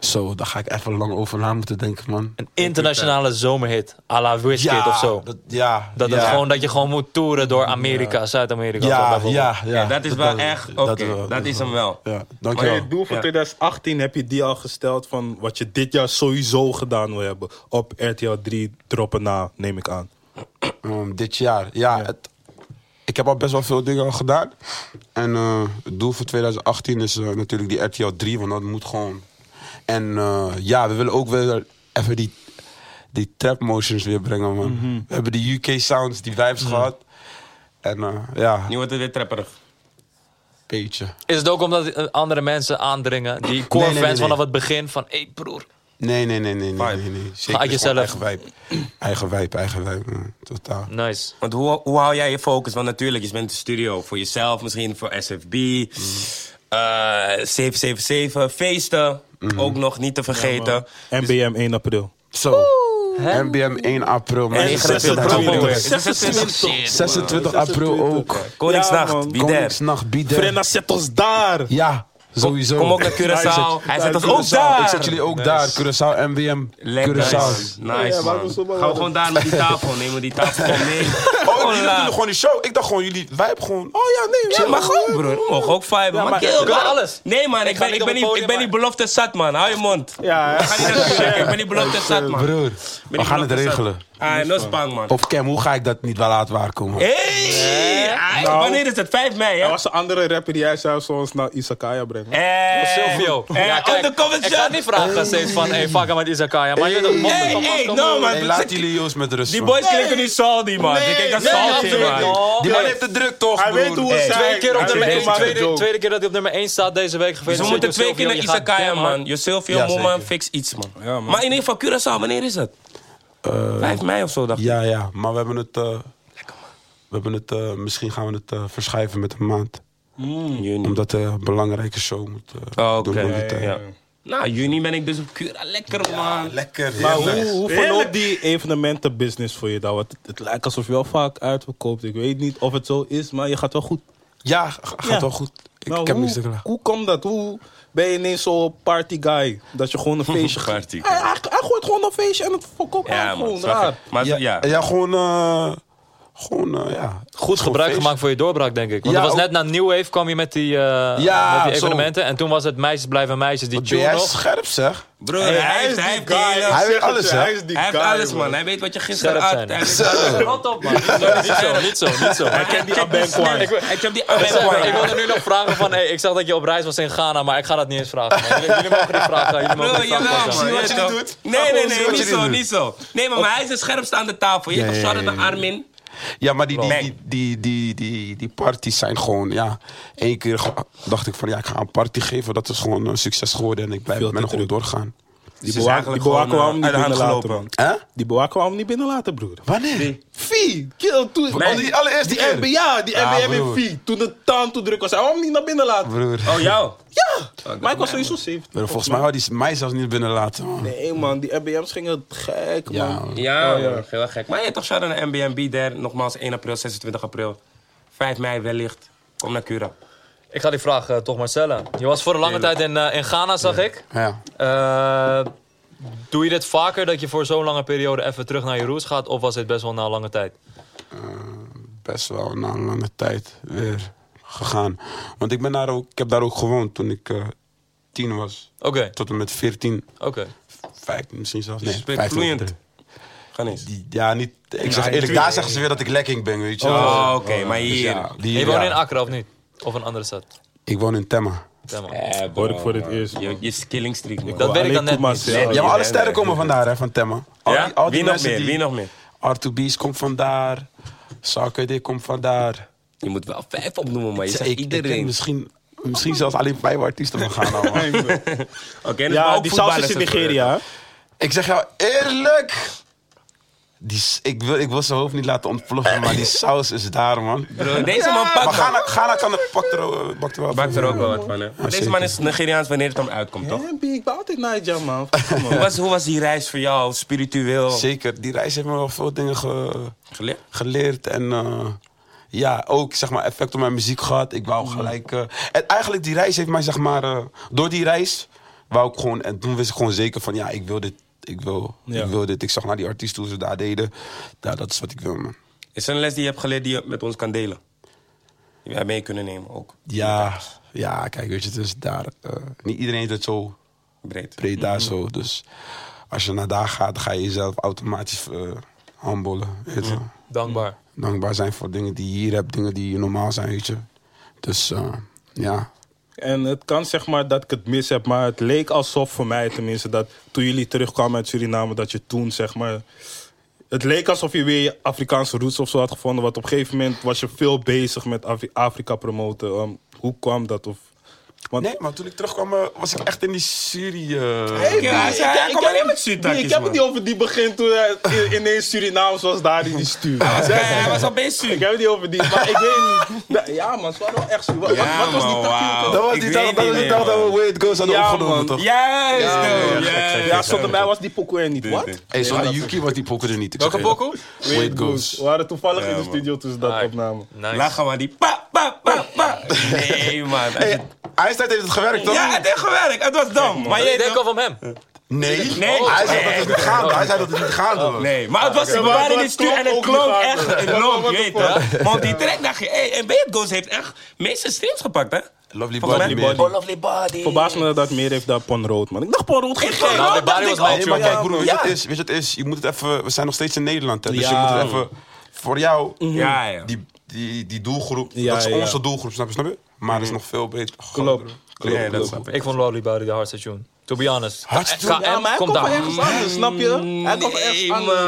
B: Zo, daar ga ik even lang over na moeten denken, man.
C: Een internationale zomerhit. à la Wizkid of zo.
B: Dat, ja,
C: Dat,
B: ja.
C: het gewoon, dat je gewoon moet toeren door Amerika, Zuid-Amerika. of zo
B: Ja, ja,
C: bijvoorbeeld.
B: ja,
A: Ja, dat is wel echt, oké,
B: is wel-
A: dat, is hem wel.
B: Ja,
D: Maar
B: dankjewel.
D: je doel voor
A: Ja.
D: 2018 heb je die al gesteld van wat je dit jaar sowieso gedaan wil hebben. Op RTL 3 droppen na, neem ik aan.
B: Ehm, dit jaar, ja. het- ik heb al best wel veel dingen al gedaan. En eh, het doel voor 2018 is eh, natuurlijk die RTL 3, want dat moet gewoon... En eh, ja, we willen ook weer even die, die trap motions weer brengen, man. We hebben die UK sounds, die vibes gehad. En eh, ja,
A: Nu wordt het weer trapperig.
B: beetje.
C: Is het ook omdat eh, andere mensen aandringen, die core
B: Nee, nee,
C: fans
B: nee, nee.
C: vanaf het begin, van hé broer.
B: Nee, nee, nee, nee, nee,
A: Vibe.
B: nee, nee.
C: Ga
B: Zeker
C: uit
B: is gewoon
C: jezelf.
B: Eigen wijp. Eigen wijp, eigen wijp. mm, Totaal.
C: Nice.
A: Want hoe, hoe hou jij je focus? Want natuurlijk, je bent in de studio voor jezelf, misschien voor SFB, eh, 777, feesten, ook nog niet te vergeten.
D: NBM 1 april.
B: Zo. MBM 1 april, man.
A: En
D: je
B: 26
D: gaat het
B: april.
D: weer.
B: 26 april ook.
A: Koningsnacht,
D: Ja, man.
A: wie der?
B: Koningsnacht, be there.
D: Frenna zet ons daar!
B: Ja, sowieso.
A: Kom ook naar
D: Hij
A: Curaçao.
D: zit-
A: Hij zet ons
D: hij
A: ook
D: zit-
A: daar.
B: Ik zet jullie ook daar. Curaçao, MBM,
A: Lekker.
B: Curaçao.
A: Nice, nice
D: laten
A: man.
D: we zo
A: Gaan
D: maar
A: we
D: doen.
A: gewoon daar met die tafel. Nemen we die tafel gewoon mee.
B: Oh,
A: Gewoon
B: jullie
A: laag.
B: doen gewoon die show. Ik dacht gewoon, jullie wijp gewoon. Oh ja, nee.
A: Ja, maar gewoon, broer. We mogen ook viben. maar
C: maar-
A: kill,
C: we kunnen
A: man.
C: alles.
A: Nee, man. Ik,
C: ga
A: ben,
C: niet
A: ik, ben,
C: op het
A: niet,
C: podium,
A: ik ben
C: maar-
A: niet belofte zat, man. Hou je mond.
D: Ja,
A: Ga niet naar de kerk. Ik ben niet belofte zat, man.
B: Broer,
A: Ik ben
B: we
A: niet
B: gaan het
A: belofte zat.
B: regelen.
A: Ah, no spang, man.
B: Of Cam, hoe ga ik dat niet wel laat waarkomen?
A: Eh, Hey! Ah,
D: Nou.
A: Wanneer is het? 5 mei,
D: Er
A: hè?
D: was een andere rapper die jij zou zoals naar Isakaya brengen.
A: Hey!
C: Silvio.
A: Hey,
C: Ja, kijk,
A: undercover
C: ik ga
A: shot.
C: niet vragen steeds van, hey, fuck hem met Izakaya. Maar je weet toch, man,
A: Hey,
C: kom, man,
A: hey,
C: kom,
A: no, man.
B: Hey, laat jullie jongens met rust.
A: Die
B: man.
A: boys klinken nu salty, man. Ik denk dat
C: nee,
A: salty,
C: absoluut niet.
A: man.
B: Die man heeft de druk toch,
D: Hij weet hoe het
B: Hey.
D: zijn.
C: Twee keer op
D: Hij
C: nummer
D: weet
C: 1,
D: hoe het
C: tweede,
D: maakt.
C: tweede keer dat hij op nummer 1 staat deze week.
A: Dus we
C: Gefeliciteerd.
A: moeten twee keer
C: Silvio.
A: naar
C: Je gaat
A: Izakaya,
C: damn hard.
A: man. Josilvio,
B: Ja,
A: Moeman,
B: zeker.
A: fix iets, man.
D: Ja, man.
A: Maar in ieder geval, Curaçao, wanneer is het?
B: Eh,
A: 5 mei of zo, dacht ik.
B: Ja, ja, maar we hebben het. eh, we hebben het eh, misschien gaan we het eh, verschuiven met een maand.
A: Hmm. Juni.
B: Omdat de belangrijke show moet. eh,
A: Oh,
B: door
A: oké.
B: door die tijd.
A: Ja. Nou, juni ben ik dus op Cura. Lekker, man.
B: Lekker,
D: Maar
A: Ah,
D: hoe, hoe verloopt
A: Heerlijk.
D: eh, die evenementenbusiness voor je dan? Want het, het lijkt alsof je wel vaak uitverkoopt. Ik weet niet of het zo is, maar je gaat wel goed.
B: Ja, g- gaat
D: Ja.
B: wel goed. Ik,
D: Nou,
B: ik heb
D: hoe,
B: niks te klagen.
D: Hoe komt dat? Hoe ben je ineens zo'n party guy? Dat je gewoon een feestje gaat.
A: Party
D: Hij,
A: guy.
D: hij- hij gooit gewoon een feestje en het verkoopt
A: Ja,
D: hij
A: man.
D: gewoon
A: snap je.
D: raar.
A: Maar ja.
B: ja, gewoon. eh, gewoon, eh, ja.
C: Goed gebruik gemaakt voor je doorbraak, denk ik. Want
B: Ja,
C: dat was
B: ook-
C: net na New Wave kwam je met die, eh,
B: Ja,
C: met die
B: zo.
C: evenementen. En toen was het Meisjes blijven meisjes, die
B: Ben
C: tune
B: jij
C: nog.
B: scherp, zeg?
A: Broer, hij, heeft, hij heeft die hele-
B: Hij weet alles, hè?
A: Hij heeft alles, man. Hij weet wat je gisteren
C: Scherp
A: had.
C: zijn.
A: Hij weet alles.
C: Rot op, man. Niet zo, niet zo, niet zo. Niet zo.
A: Hij kent die Abenkwai. Hij kent die
C: Ik
A: Abenkwai.
C: wilde nu nog vragen van, hey, ik zag dat je op reis was in Ghana, maar ik ga dat niet eens vragen. man. Jullie, jullie mogen die vragen. Jullie mogen
A: Bro,
C: die vragen
A: jawel,
C: stellen.
A: man. je
B: Zie wat jullie
A: toch?
B: doet.
A: Nee, nee, nee,
B: Zie wat
A: niet
B: jullie
A: zo,
B: doen.
A: niet zo. Nee, maar, maar hij is de scherpste aan de tafel. Je
B: Ja,
A: toch
B: ja,
A: shout
B: ja,
A: naar
B: ja.
A: Armin.
B: Ja, maar die, die,
A: Bang.
B: die, die, die, die, die parties zijn gewoon, ja. Eén keer ge- dacht ik van, ja, ik ga een party geven. Dat is gewoon een succes geworden en ik blijf
D: Veel
B: met
D: te
B: hem gewoon doorgaan.
A: Die
D: bewaken- die bewaken we
A: eh,
D: allemaal niet binnen laten, man.
B: Hè?
D: Die bewaken we hem niet binnenlaten, broer.
B: Wanneer?
E: Vie, kill, toen...
B: Al die allereerste
E: Die
B: keer.
E: MB, ja, die
B: Ah,
E: MBM in
B: broer.
E: Vie. Toen de taan toe druk was, hij wou hem niet naar binnen laten.
B: Broer.
A: Oh, jou?
E: Ja,
A: dat
E: maar ik was
A: mij,
E: sowieso 70.
B: Broer, Volgens mij had hij mij zelfs niet binnenlaten, man.
E: Nee man, die MBM's gingen gek man.
B: Ja, man.
A: Ja, man. heel erg gek. Maar je toch shout naar MBMB daar. Nogmaals, 1 april, 26 april. 5 mei wellicht. Kom naar Cura.
C: Ik ga die vraag eh, toch maar stellen. Je was voor een lange tijd in, eh, in Ghana, zag ik.
B: Ja.
C: Eh, doe je dit vaker, dat je voor zo'n lange periode even terug naar je roots gaat? Of was dit best wel na een lange tijd?
B: best wel na een lange tijd weer gegaan. Want ik, ben daar ook, ik heb daar ook gewoond toen ik eh, tien was.
C: Oké,
B: Tot en met 14,
C: oké.
B: 15 misschien zelfs.
A: Dus
B: Nee,
A: je spreekt
B: 15.
A: vloeiend. Ga eens.
B: Die- ja, niet, ik zeg eerlijk, daar zeggen ze weer dat ik lekking ben, weet je wel.
A: Oh, oké, maar
B: Dus
A: hier.
B: ja, die-
C: je woont
B: ja.
C: in Accra of niet? Of een andere stad?
B: Ik woon in Temma.
C: Ja, man.
A: Eh, bro,
D: Hoor ik voor het eerst.
A: Je, je skilling streak, man.
C: Dat weet ik dan net
D: Koeman
C: niet.
D: zelf.
B: Ja, maar alle
A: nee,
B: sterren
A: nee,
B: komen
A: nee.
B: vandaar, hè, van Temma. Al
A: Ja?
B: die, al die
A: Wie nog
B: mensen
A: meer?
B: die-
A: Wie nog meer?
B: R2B's komt vandaar. Sakede komt vandaar.
A: Je moet wel vijf opnoemen, maar je zegt
B: ik, ik ken dus-
A: iedereen.
B: misschien, misschien zelfs alleen vijf artiesten van Ghana, man.
A: Oké, dus maar
D: Ja,
A: ook
D: die saus
A: voetballers
D: is in
A: en zo.
D: Nigeria. hè?
B: Ik zeg jou eerlijk. Die, s- ik, wil, ik wil zijn hoofd niet laten ontploffen, maar die saus is daar, man.
A: Bro, Deze man pakt
B: Maar
A: dat.
B: Ghana, Ghana kan er, pakt er, ook- pakt er wel
A: Maakt
B: van.
A: er ook wel wat van, hè? Maar Deze
B: zeker.
A: man is Nigeriaans wanneer het hem uitkomt, toch?
E: MB, ik ben altijd Nigel man.
A: Hoe was, hoe was die reis voor jou, spiritueel?
B: Zeker, die reis heeft me wel veel dingen ge-
A: Geleerd?
B: geleerd. En eh, ja, ook zeg maar, effect op mijn muziek gehad. Ik wou gelijk... eh, en eigenlijk die reis heeft mij, zeg maar... eh, door die reis wou ik gewoon... En toen wist ik gewoon zeker van, ja, ik wil dit. Ik wil, ik wil dit. Ik zag naar die artiesten hoe ze daar deden. Ja, dat is wat ik wil, man.
A: Is er een les die je hebt geleerd die je met ons kan delen? Die wij mee kunnen nemen, ook.
B: Ja, ja, kijk, weet je, het is daar. eh, niet iedereen heeft het zo
A: Breed.
B: breed daar zo. Dus als je naar daar gaat, ga je jezelf automatisch eh handbollen. Weet je.
C: Dankbaar.
B: Dankbaar zijn voor dingen die je hier hebt, dingen die normaal zijn, weet je. Dus eh, ja.
D: En het kan zeg maar dat ik het mis heb, maar het leek alsof voor mij tenminste dat toen jullie terugkwamen uit Suriname, dat je toen zeg maar. Het leek alsof je weer je Afrikaanse roots of zo had gevonden, want op een gegeven moment was je veel bezig met Afri- Afrika promoten. Ehm, hoe kwam dat? Of, want
B: Nee, maar toen ik terugkwam, eh, was ik echt in die Syrië.
A: Ja, hij zei, hij kwam alleen met Sutakis,
E: Ik heb
A: man.
E: het niet over die begin toen hij i- ineens Surinaams was daar in die stuur.
A: Ja, hij was al bezig.
E: Ik heb het niet over die, maar ik weet niet. Nou, Ja man, ze waren wel echt Suri- Wat,
A: Ja,
E: wat was
A: man,
E: die
A: wauw.
E: takkie?
B: Dat was
A: Ik
B: die
A: weet
B: dag dat, was
A: niet
B: die
A: meer,
B: dag dat we
A: man.
B: Way It Goes hadden
E: Ja,
B: opgenomen,
E: man.
B: toch?
A: Juist, dude, juist.
E: Ja, zonder mij was die pokoe er niet. Wat?
B: Hey, zonder Yuki was die poker er niet. ik
C: Welke
B: zeg je.
C: pokoe?
B: Way It Goes.
E: We waren toevallig
A: Ja,
E: in de
A: man.
E: studio toen ze dat
C: Ai.
E: opnamen.
C: Nice.
A: Lachen, man. Die pa, pa, pa, pa. Nee, man.
B: Hey, IJstijd heeft het gewerkt, toch?
A: Ja, het heeft gewerkt. Het was dom. Maar
C: Ik
A: jij
C: denk
A: denkt...
C: al van hem.
B: Nee.
A: Nee.
B: Hij zei dat het niet gaande. Hij zei dat het niet gaande was.
A: Nee, maar het was, we waren in
E: maar
A: de
E: het
A: stuur en het
E: klonk ook
A: klonk
E: niet
A: echt.
E: hard,
A: Het
E: hoor.
A: klonk,
E: Wat
A: je
E: een
A: weet hè. Want die track dacht je, hey, en Bad Ghost heeft echt de meeste streams gepakt, hè?
B: Lovely
A: Volgens
B: Body,
A: mij-
B: man.
A: Oh, Lovely Body.
D: Verbaas me dat dat meer heeft dan Pon Rood, man. Ik dacht Pon Rood
A: Geen
D: geen
A: geld,
D: geld.
A: dacht
C: Nou, Body
A: ik
C: was
D: Oh,
A: ook.
C: mijn
B: Nee, maar
C: Ja,
B: kijk broer, weet je
A: ja.
B: wat het is? Weet je wat het is? Je moet het even... We zijn nog steeds in Nederland, hè. Dus je
D: Ja. Mhm.
B: moet het even... Voor jou,
A: Ja, ja.
B: Die, die, die doelgroep,
D: Ja,
B: dat is
D: ja.
B: onze doelgroep, snap je? Snap je? Maar dat is nog veel beter.
D: Klopt.
A: Nee, Mhm. dat snap ik.
C: Ik vond Lovely Body de hardste tune. To be honest. Eh,
B: Hardste
C: KM
B: tune?
E: Ja, maar hij
C: komt
E: komt van
C: daar.
E: ergens anders, snap je? Hij komt van ergens
A: Nee,
E: anders,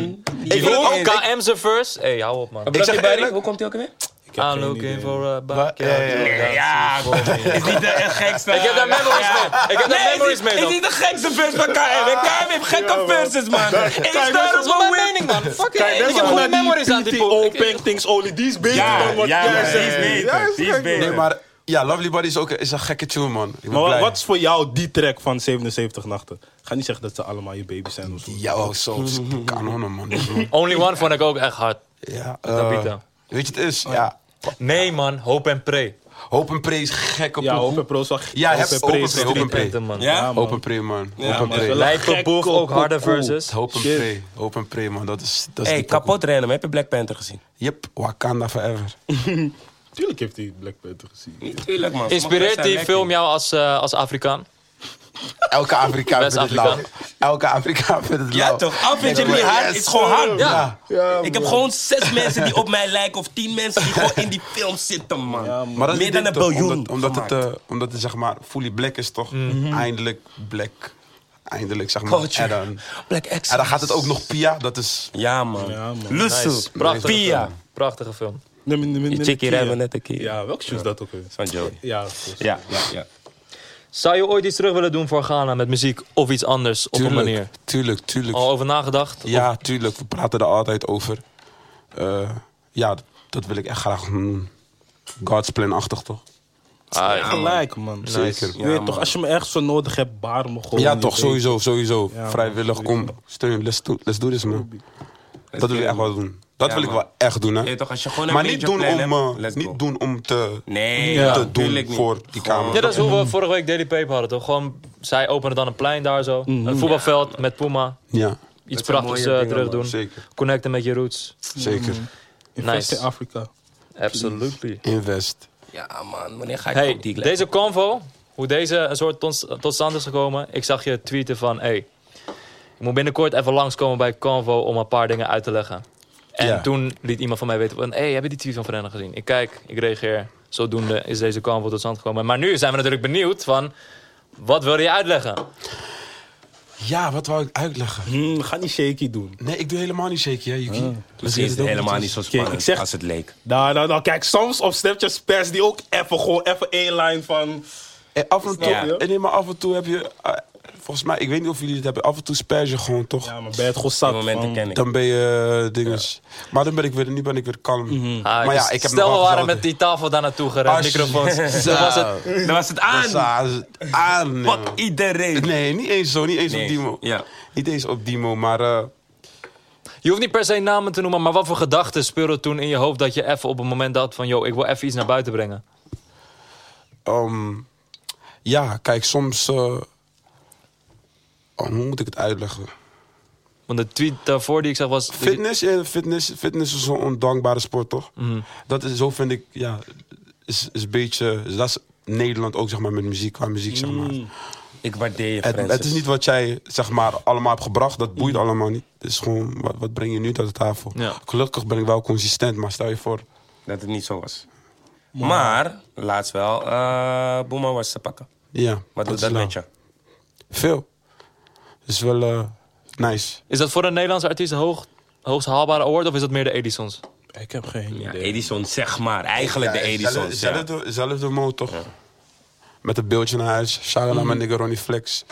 E: man.
A: man.
B: Ik wil
C: Hoe
B: ook... ik-
C: KM zijn verse? Hey, hou op man.
B: Ik zeg eerlijk...
A: Hoe komt hij ook weer?
C: I'm looking for
B: Wa-
C: a bucket.
B: ja, ja, ja.
A: Ja, is niet de gekste.
C: Ik heb daar memories mee. Ik heb daar
A: Nee, is
C: memories
A: niet-
C: mee
A: Is
C: dan.
A: niet de gekste vers van KM. En KM heeft gekke verses, man. En ik sta er gewoon
C: mijn
A: weer.
C: mening man. Fuck it.
E: dat
C: Ik
E: is
C: heb
E: wel
C: goede
E: naar die
C: memories aan die
E: Oh,
C: poep.
E: Pink Things Only, die is beter
A: Ja,
E: dan wat
A: ja,
E: jij
A: ja,
E: zegt.
A: die is beter,
E: Ja, is
A: die is
E: gek, man.
A: beter.
B: Nee, maar... Ja, Lovely Body is ook is een gekke tune, man. Ik ben
D: Maar wat,
B: blij.
D: wat is voor jou die track van 77 Nachten? Ga niet zeggen dat ze allemaal je baby's zijn of zo.
B: Ja, oh, zo.
D: Mhm.
B: Kanonnen, man.
C: Only One vond ik ook echt hard.
B: Ja.
C: Dat
B: eh,
C: biedt dan.
D: Oh.
B: Weet je, het is... Ja.
C: Nee man, Hope and Pray.
B: Hoop en Pre is gek op
D: Ja,
B: pokoe.
D: Hoop en Pro is wel gek.
B: Ja, heb-
D: Hoop en
B: Hoop en
D: Pre is
B: Pre, Hoop en
D: street.
B: Pre.
C: Printen, man.
A: Ja?
D: Ja, man.
B: Open Pre, man.
A: Ja,
B: Open
A: maar
B: Pre.
D: wel-
C: Lijkt op
D: Gek
C: Boeg
D: op
C: ook harde
D: pokoe.
C: versus.
B: Hoop en
D: Shit.
B: Pre. Hope en Pre, man. Dat is, dat is
A: Hey,
B: die pokoe.
A: kapot rennen. Heb je Black Panther gezien?
B: Yep, Wakanda forever.
D: Tuurlijk heeft hij Black Panther gezien.
A: Tuurlijk, man.
C: Inspireert die film jou als, eh, als Afrikaan?
B: Elke Afrikaan vindt het lauw.
C: West-Afrikaan.
B: Elke Afrikaan vindt het
A: Ja,
B: lauw.
A: toch? Afwit je
B: Nou. Yes.
A: niet hard, is gewoon hard.
C: Ja.
A: ik heb gewoon zes mensen die op mij lijken of tien mensen die gewoon in die film zitten, man.
B: Maar dat is
A: Meer dan een
B: dit toch,
A: biljoen.
B: Omdat, omdat, het,
A: gemaakt. Mhm.
B: eh, omdat het zeg maar fully black is toch? Mhm. Eindelijk black. Eindelijk zeg maar.
A: Culture.
B: En dan,
A: Oh, Black
B: en eh, dan
A: excellence.
B: gaat het ook nog Pia. Dat is...
A: Ja, man.
D: Ja, man.
A: Lusso.
C: Nice. Prachtige
A: Pia.
C: film. Prachtige film.
D: Nee, nee, nee, nee,
A: Die
D: nee,
A: chickie
D: Kia.
A: rijden we net een keer.
D: Ja, welke shoes dat ook weer?
A: Van Joey.
D: Ja, precies.
A: Ja, ja, ja.
C: Zou je ooit iets terug willen doen voor Ghana met muziek of iets anders op een manier?
B: Tuurlijk, tuurlijk.
C: Al over nagedacht?
B: Ja, tuurlijk. We praten er altijd over. Eh, ja, dat- dat wil ik echt graag doen. God's plan-achtig toch?
C: Ah,
D: Ja, gelijk, man.
B: Zeker.
D: Je weet toch, als je me ergens zo nodig hebt, baar me gewoon.
B: Ja,
D: je
B: toch,
D: weet.
B: sowieso, sowieso.
D: Ja, man,
B: Vrijwillig, kom, steun, let's do, let's do this, man. Dat wil ik echt wel doen. Dat
A: Ja,
B: wil ik
A: man.
B: wel echt doen, hè.
A: Ja, toch, als je gewoon een
B: maar niet
A: major
B: doen, om,
A: plan hebt,
B: eh,
A: let's go.
B: niet doen om te...
A: Nee,
D: Ja.
B: te doen
A: tuurlijk niet.
B: voor die
A: Gewoon-
B: kamer.
C: Ja, dat is hoe we vorige week Daily Paper hadden, toch? Gewoon, zij openen dan een plein daar zo. Een voetbalveld met Puma.
B: Ja,
C: Iets
A: zijn
C: prachtigs
A: mooie
C: eh,
A: dingen,
C: terug doen.
B: zeker.
C: Connecten met je roots.
B: Zeker.
A: Mm.
D: Invest
C: Nice.
D: in Afrika.
C: Absolutely.
B: Invest.
A: Ja, man. Wanneer ga ik
C: Hey,
A: op die lijst?
C: deze convo, hoe deze een soort tot, tot stand is gekomen. Ik zag je tweeten van, hey, ik moet binnenkort even langskomen bij convo om een paar dingen uit te leggen. En
B: Ja.
C: toen liet iemand van mij weten van, hey, heb je die tweet van Fernando gezien? Ik kijk, ik reageer. Zodoende is deze convo tot stand gekomen. Maar nu zijn we natuurlijk benieuwd van, wat wil je uitleggen?
B: Hm. Ja, wat wou ik uitleggen?
D: Hm, ga niet shaky doen.
B: Nee, ik doe helemaal niet shaky, hè, Yuki.
A: Dus is het helemaal niet zo spannend
D: ik zeg-
A: als het leek.
D: Nou, nou, nou, kijk, soms op Snapchat spares die ook even gewoon even één lijn van...
B: En af en toe,
A: Ja.
B: en nee, maar af en toe heb je... eh, volgens mij, ik weet niet of jullie het hebben, af en toe spijs je gewoon, toch?
D: Ja, maar ben je het gewoon zat?
A: Die momenten
D: van-
A: ken ik.
B: Dan ben je eh, dinges. Maar dan ben ik weer, nu ben ik weer kalm.
A: Mhm.
C: Ah,
B: Maar ja,
C: dus
B: ik heb
C: stel,
B: nog
C: we
B: wel
C: waren
B: gezellig.
C: met die tafel daar naartoe gerend,
B: Als-
C: microfoons.
B: Zo.
C: Dan was het,
A: Dan was het
B: Dat
A: aan.
B: zagen ze aan. nee,
A: Pak
B: man.
A: iedereen.
B: Nee, niet eens zo, niet eens
A: Nee,
B: op Dimo.
A: ja.
B: Niet eens op Dimo, maar eh,
C: Je hoeft niet per se namen te noemen, maar wat voor gedachten speelden toen in je hoofd dat je even op een moment had van, yo, ik wil even iets naar buiten brengen?
B: ehm, ja, kijk, soms. eh, oh, hoe moet ik het uitleggen?
C: Want de tweet daarvoor die ik zag was...
B: Fitness, eh, fitness, fitness is zo'n ondankbare sport, toch? Dat is, zo vind ik, ja, is, is een beetje, dat is Nederland ook, zeg maar, met muziek, qua muziek, zeg maar.
A: Mm. Ik waardeer je,
B: Het,
A: Francis.
B: het is niet wat jij, zeg maar, allemaal hebt gebracht, dat boeit allemaal niet. Het is gewoon, wat, wat breng je nu tot de tafel?
C: Ja.
B: Gelukkig ben ik wel consistent, maar stel je voor,
A: dat het niet zo was. Maar, laatst wel, eh Boema was te pakken.
B: ja.
A: Wat doet
B: is
A: dat
B: lauw.
A: met je?
B: Veel. Is wel eh, nice.
C: Is dat voor een Nederlandse artiest de hoog, hoogst haalbare award of is dat meer de Edisons?
D: Ik heb geen
A: Ja,
D: idee.
A: Edison, zeg maar. Eigenlijk de Edison.
B: Zelfde, zelfde, zelfde motor. Met een beeldje naar huis. Shout out naar mijn nigger Ronnie Flex.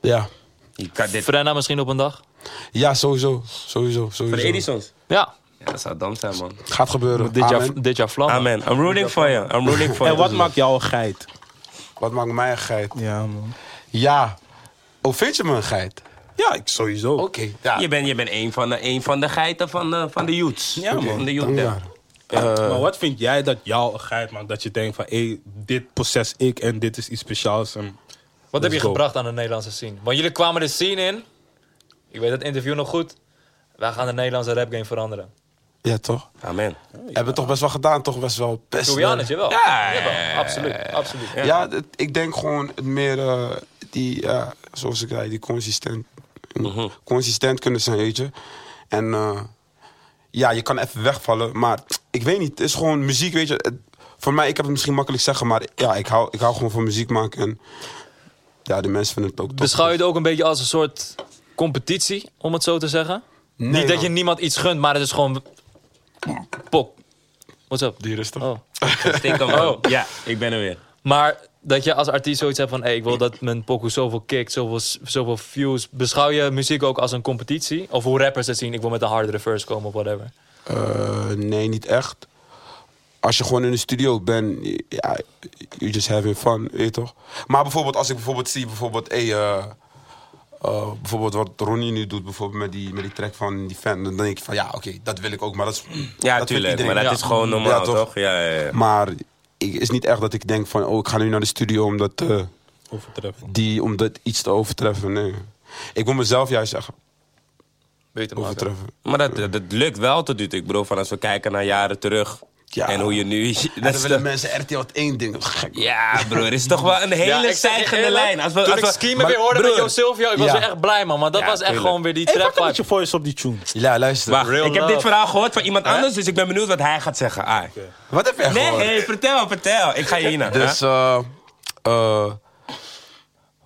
B: Ja.
A: Je kan dit... Voor
C: Frenna misschien op een dag?
B: Ja, sowieso. Sowieso. sowieso.
A: de Edisons.
C: Ja,
A: Ja, dat zou dom zijn,
D: Oh.
A: man.
B: Gaat gebeuren.
C: dit jaar,
B: Amen.
C: dit jaar vlammen.
A: Amen. I'm rooting for you. I'm rooting for
D: En
A: you.
D: wat maakt jou een geit?
B: Wat maakt mij een geit?
D: Ja, man.
B: Ja. Oh, vind je me een geit?
D: Ja, ik sowieso.
B: Oké. Ja.
A: Je bent, je bent een, van de, een van de geiten van de, van de youths.
D: Ja, man.
A: Van de youth.
B: Dankbaar.
D: maar wat vind jij dat jou een geit maakt? Dat je denkt van, hé, dit proces ik en dit is iets speciaals. En
C: Wat heb je
D: Let's go.
C: gebracht aan de Nederlandse scene? Want jullie kwamen de scene in. Ik weet dat interview nog goed. Wij gaan de Nederlandse rap game veranderen.
B: Ja, toch?
A: Amen.
B: Hebben we toch best wel gedaan, toch? Best wel. Best
C: Julianus, jawel.
A: Ja, ja,
C: Jawel, absoluut, absoluut.
B: Ja, het- ik denk gewoon het meer eh, die, ja, zoals ik zei, die consistent,
C: Mhm.
B: consistent kunnen zijn, weet je. En eh, ja, je kan even wegvallen, maar ik weet niet, het is gewoon muziek, weet je. Het- voor mij, ik heb het misschien makkelijk zeggen, maar ja, ik hou, ik hou gewoon van muziek maken en ja, de mensen vinden het ook top.
C: Beschouw je het ook een beetje als een soort competitie, om het zo te zeggen?
B: Nee,
C: Niet dat je
B: man.
C: niemand iets gunt, maar het is gewoon... Pok. What's up?
B: Die rustig.
C: Oh.
A: Stikken, man.
D: Oh.
A: Ja, ik ben er weer.
C: Maar dat je als artiest zoiets hebt van... Hey, ik wil dat mijn pokoe zoveel kickt, zoveel, zoveel views. Beschouw je muziek ook als een competitie? Of hoe rappers het zien? Ik wil met een hardere verse komen of whatever.
B: Eh, nee, niet echt. Als je gewoon in de studio bent, ja, you just having fun, weet je toch? Maar bijvoorbeeld als ik bijvoorbeeld zie, bijvoorbeeld, hey, eh, eh, bijvoorbeeld wat Ronnie nu doet, bijvoorbeeld met die, met die track van die fan, dan denk ik van ja, oké, dat wil ik ook, maar dat is.
A: Ja,
B: dat wil
A: tuurlijk.
B: iedereen.
A: Maar dat
C: Ja.
A: is gewoon normaal,
B: Ja, toch?
A: toch? Ja, ja, ja.
B: Maar ik, is niet echt dat ik denk van, oh, ik ga nu naar de studio om, dat, eh,
D: Overtreffen.
B: die, om dat iets te overtreffen. Nee. Ik wil mezelf juist echt
C: Beter maken.
B: overtreffen.
A: Maar dat, dat, dat lukt wel tot nu toe. Ik bedoel, van als we kijken naar jaren terug
B: Ja.
A: en hoe je nu... Dat
B: dan
A: is
B: willen
A: toch-
B: mensen RTL wat één ding. Gek.
A: ja, Ah, broer, is toch wel een hele
C: ik zeg je
A: stijgende
C: eerlijk,
A: lijn. Als we,
C: Toen
A: als
C: ik
A: we-
C: Scheme
A: maar
C: weer hoorde met
A: broer,
C: Jo Silvio, ik was
B: Ja.
C: wel echt blij, man. Want dat
A: Ja,
C: was echt
A: tuurlijk.
C: gewoon weer die
D: Hey,
C: trap
D: wat met
C: vibe.
D: je voice op die tune?
B: Ja, luister.
A: Wacht,
C: Real
A: ik heb
C: love.
A: dit verhaal gehoord van iemand anders, dus ik ben benieuwd wat hij gaat zeggen. Ah.
B: Wat heb jij
A: Nee,
B: gehoord?
A: hey, vertel, vertel. Ik ga hierna.
B: Dus, eh, eh,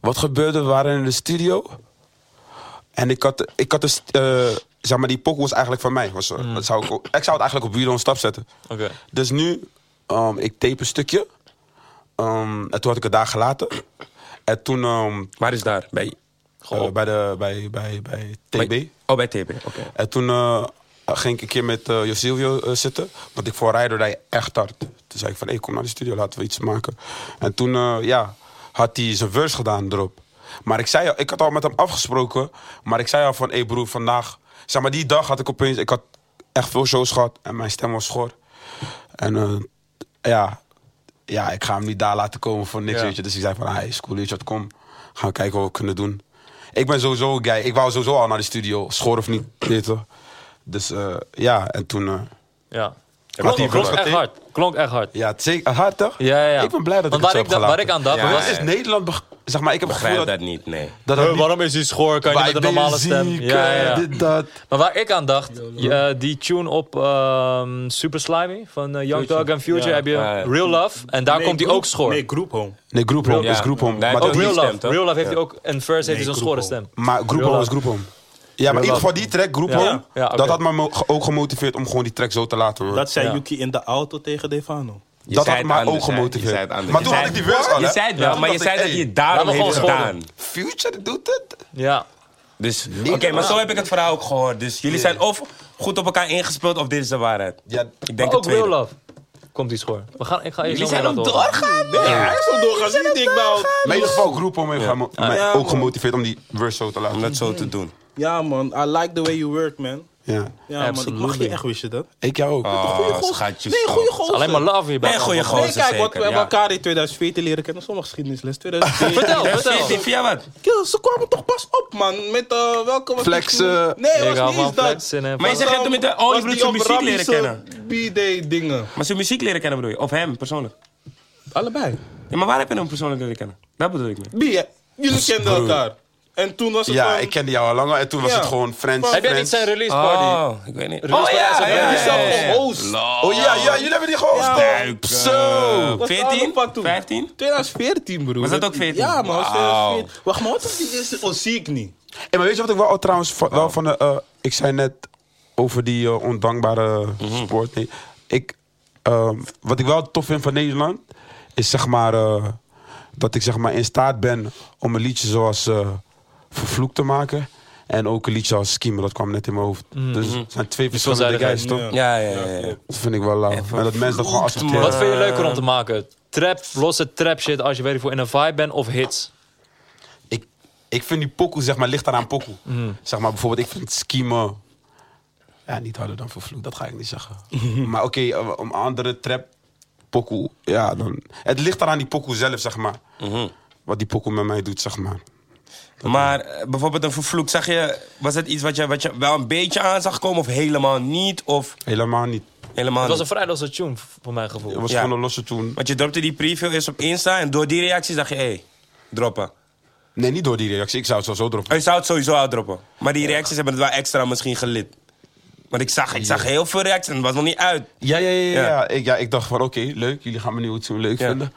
B: wat gebeurde? We waren in de studio. En ik had, ik had dus, eh, zeg maar, die pokoe was eigenlijk van mij. Was, eh,
A: Hmm.
B: dat zou ik, ook- ik zou het eigenlijk op Bureau een stap zetten.
C: Oké.
B: Dus nu, ehm, ik tape een stukje. Ehm, en toen had ik het daar gelaten. En toen ehm,
A: Waar is daar? Bij,
B: eh, bij, de, bij, bij, bij TB.
A: bij- Oh, bij TB, oké.
B: En toen eh, ging ik een keer met eh Josilvio eh, zitten. Want ik voor rijder rijd echt hard. Toen zei ik van, hé, kom naar de studio, laten we iets maken. En toen, eh, ja, had hij zijn verse gedaan erop. Maar ik zei al, ik had al met hem afgesproken. Maar ik zei al van, hé broer, vandaag... Zeg maar, die dag had ik opeens... Ik had echt veel shows gehad en mijn stem was schor. En eh, ja, ja, ik ga hem niet daar laten komen voor niks,
C: Ja.
B: weet je. Dus ik zei van, ah, is cool, weet je wat, kom. Gaan we kijken wat we kunnen doen. Ik ben sowieso een guy. Ik wou sowieso al naar de studio, schoor of niet, weet je. Dus eh, ja, en toen... eh,
C: Ja.
B: had hij
C: Klonk, klonk
B: verwacht,
C: echt
B: hè?
C: hard. Klonk echt hard.
B: ja, het zeker hard, toch?
C: Ja, ja, ja.
B: Ik ben blij dat
C: Want
B: ik
C: waar
B: het zo
C: ik,
B: heb
C: da- waar ik
B: gelaten.
C: aan dacht,
A: Ja,
C: was...
A: ja.
B: Is Nederland, beg- zeg maar, ik heb het gevoel
A: Begrijp
B: dat...
A: dat niet, nee.
B: dat
C: Huh,
B: het niet-
C: waarom is hij schoor? Kan je niet
B: Wij
C: met
B: ben je
C: een normale stem?
B: ziek,
C: Ja, ja,
B: eh,
C: ja.
B: Dit, dat.
C: Maar waar ik aan dacht, ja, die tune op ehm, Super Slimy van eh, Young Dog en Future
D: Ja.
C: heb je
A: Ah, ja.
C: Real Love. En daar
D: Nee,
C: komt hij
D: groep-
C: ook schoor.
D: Nee, Group Home.
B: Nee, Groephome
A: Ja.
B: is Groephome.
A: Nee,
B: Maar,
A: dat
C: ook
B: dat-
A: die
C: Real
A: stem,
C: Love.
A: toch?
C: Real Love heeft hij ook... En Verse heeft dus hij zo'n
D: Groep
C: schorre
D: ook.
C: stem.
B: maar Groephome
C: Real
B: is Groephome. Ja, maar in ieder geval die track, Groephome,
C: Ja. Ja, oké.
B: dat had me mo- ook gemotiveerd om gewoon die track zo te laten worden.
D: Dat zei
C: Ja.
D: Yuki in de auto tegen Defano.
A: Je
B: dat
A: zei
B: had
A: het
B: mij ook
A: anders, hè. Je
B: gemotiveerd.
A: zei het anders.
B: Maar
A: Je
B: toen
A: zei
B: had ik
A: het-
B: die verse al,
A: Je
B: hè?
A: zei het wel,
B: Toen
A: maar je
B: dacht ik,
A: zei dat
B: hey,
A: je het daarom
C: laat me
A: heeft
C: gewoon
A: gedaan.
B: Future doet het.
C: Ja.
A: Dus, oké, maar zo heb ik het verhaal ook gehoord. Dus jullie zijn of goed op elkaar ingespeeld of dit is de waarheid.
B: Ja,
A: Ik
C: Maar
A: denk het
C: ook Real
A: tweede.
C: Love komt die schoor. We gaan, ik ga
A: Jullie
C: eerst nog
A: zijn
C: maar
A: ook
C: dat horen.
A: doorgaan.
E: Nee, hij is al doorgaan. Zie je die ik nou?
B: maar in ieder geval Groephome heeft mij- mij
A: ja,
B: ook
A: man.
B: gemotiveerd om die verse zo te
A: Om
B: laten.
A: dat zo te doen.
D: Ja, man. I like the way you work, man.
B: Ja. Ah.
D: Ja, man. Ik mag
C: Absolutely.
D: je echt, wist je dat?
B: Ik jou ook.
A: Oh,
D: gozer.
A: schatjes.
D: Nee, goede
A: Oh.
D: gozer.
C: Alleen maar love hierbij.
A: Nee, goeie
D: Nee,
A: gozer
D: kijk, wat we
A: zeker,
D: hebben
A: ja.
D: elkaar in 2004 te leren kennen. Sommige geschiedenisles. 2004.
C: Vertel, vertel.
A: Vind je- Via wat?
D: Kill, ze kwamen toch pas op, man. Met eh, welke was die
B: Flexen.
D: tune? Nee,
C: Ik
D: was
C: hou
D: niet
C: van
D: eens dat.
C: flexen en
A: Maar je
C: van-
A: zegt het met de- oh, je bedoelt je muziek leren
D: B-Day dingen.
A: Maar zijn muziek leren kennen bedoel je? Of hem persoonlijk?
D: Allebei.
A: Ja, maar waar heb je hem persoonlijk leren kennen? Dat bedoel ik mee.
D: B, hè? jullie kenden elkaar. En toen was het
B: Ja,
D: van-
B: ik kende jou al langer en toen was
D: Ja.
B: het gewoon Friends.
C: Heb jij niet
B: Friends.
C: zijn release
A: Oh,
C: party?
A: ik weet niet.
C: Release party is een band.
B: Oh ja, ja, jullie hebben die gehost.
A: Duik.
B: Zo.
D: was de
A: 14?
D: aanpak toen?
A: 15?
D: 2014, broer.
A: Was dat ook 14?
D: Ja, man. was
A: Wauw.
D: 2014. Wacht, maar wat was die eerste? Oh, zie ik niet.
B: Hey, maar weet je wat ik wel trouwens van, wel van de, eh, ik zei net over die eh, ondankbare sport. Nee, ik, ehm, wat ik wel tof vind van Nederland is zeg maar eh, dat ik zeg maar in staat ben om een liedje zoals eh Vervloekt te maken en ook een liedje als Schema. Dat kwam net in mijn hoofd. Dus het zijn twee verschillende guys,
C: veelzijdigheid.
B: toch?
A: Ja, ja, ja. ja.
B: Dat vind ik wel lauw. En dat mensen dat gewoon accepteren.
C: Wat vind je leuker om te maken? Trap, losse trap shit als je weet ik voor in een vibe bent of hits?
B: ik, ik vind die pokoe, zeg maar, ligt aan aan pokoe. Zeg maar, bijvoorbeeld, ik vind schema... Ja, niet harder dan vervloekt, dat ga ik niet zeggen. maar oké, eh, om andere trap pokoe, ja, dan... Het ligt eraan die pokoe zelf, zeg maar.
A: Mhm.
B: Wat die pokoe met mij doet, zeg maar.
A: Maar eh, bijvoorbeeld een vervloek, zag je, was het iets wat je, wat je wel een beetje aan zag komen of helemaal niet? Of
B: Helemaal niet.
A: helemaal
C: Het was een
A: niet?
C: vrij losse tune voor mijn gevoel.
B: Het was
A: Ja.
B: gewoon een losse toen.
A: Want je dropte die preview eerst op Insta en door die reacties dacht je, hé, hey, droppen.
B: Nee, niet door die reactie. Ik zou het zo zo droppen.
A: Oh, Je zou het sowieso uitdroppen. Maar die reacties hebben het wel extra misschien gelid. Want ik zag, ik zag heel veel reacties en het was nog niet uit.
B: Ja, ja, ja. ja,
A: Ja.
B: ja. Ik, ja ik dacht van, oké, leuk. Jullie gaan me nu het zo leuk
A: Ja.
B: vinden.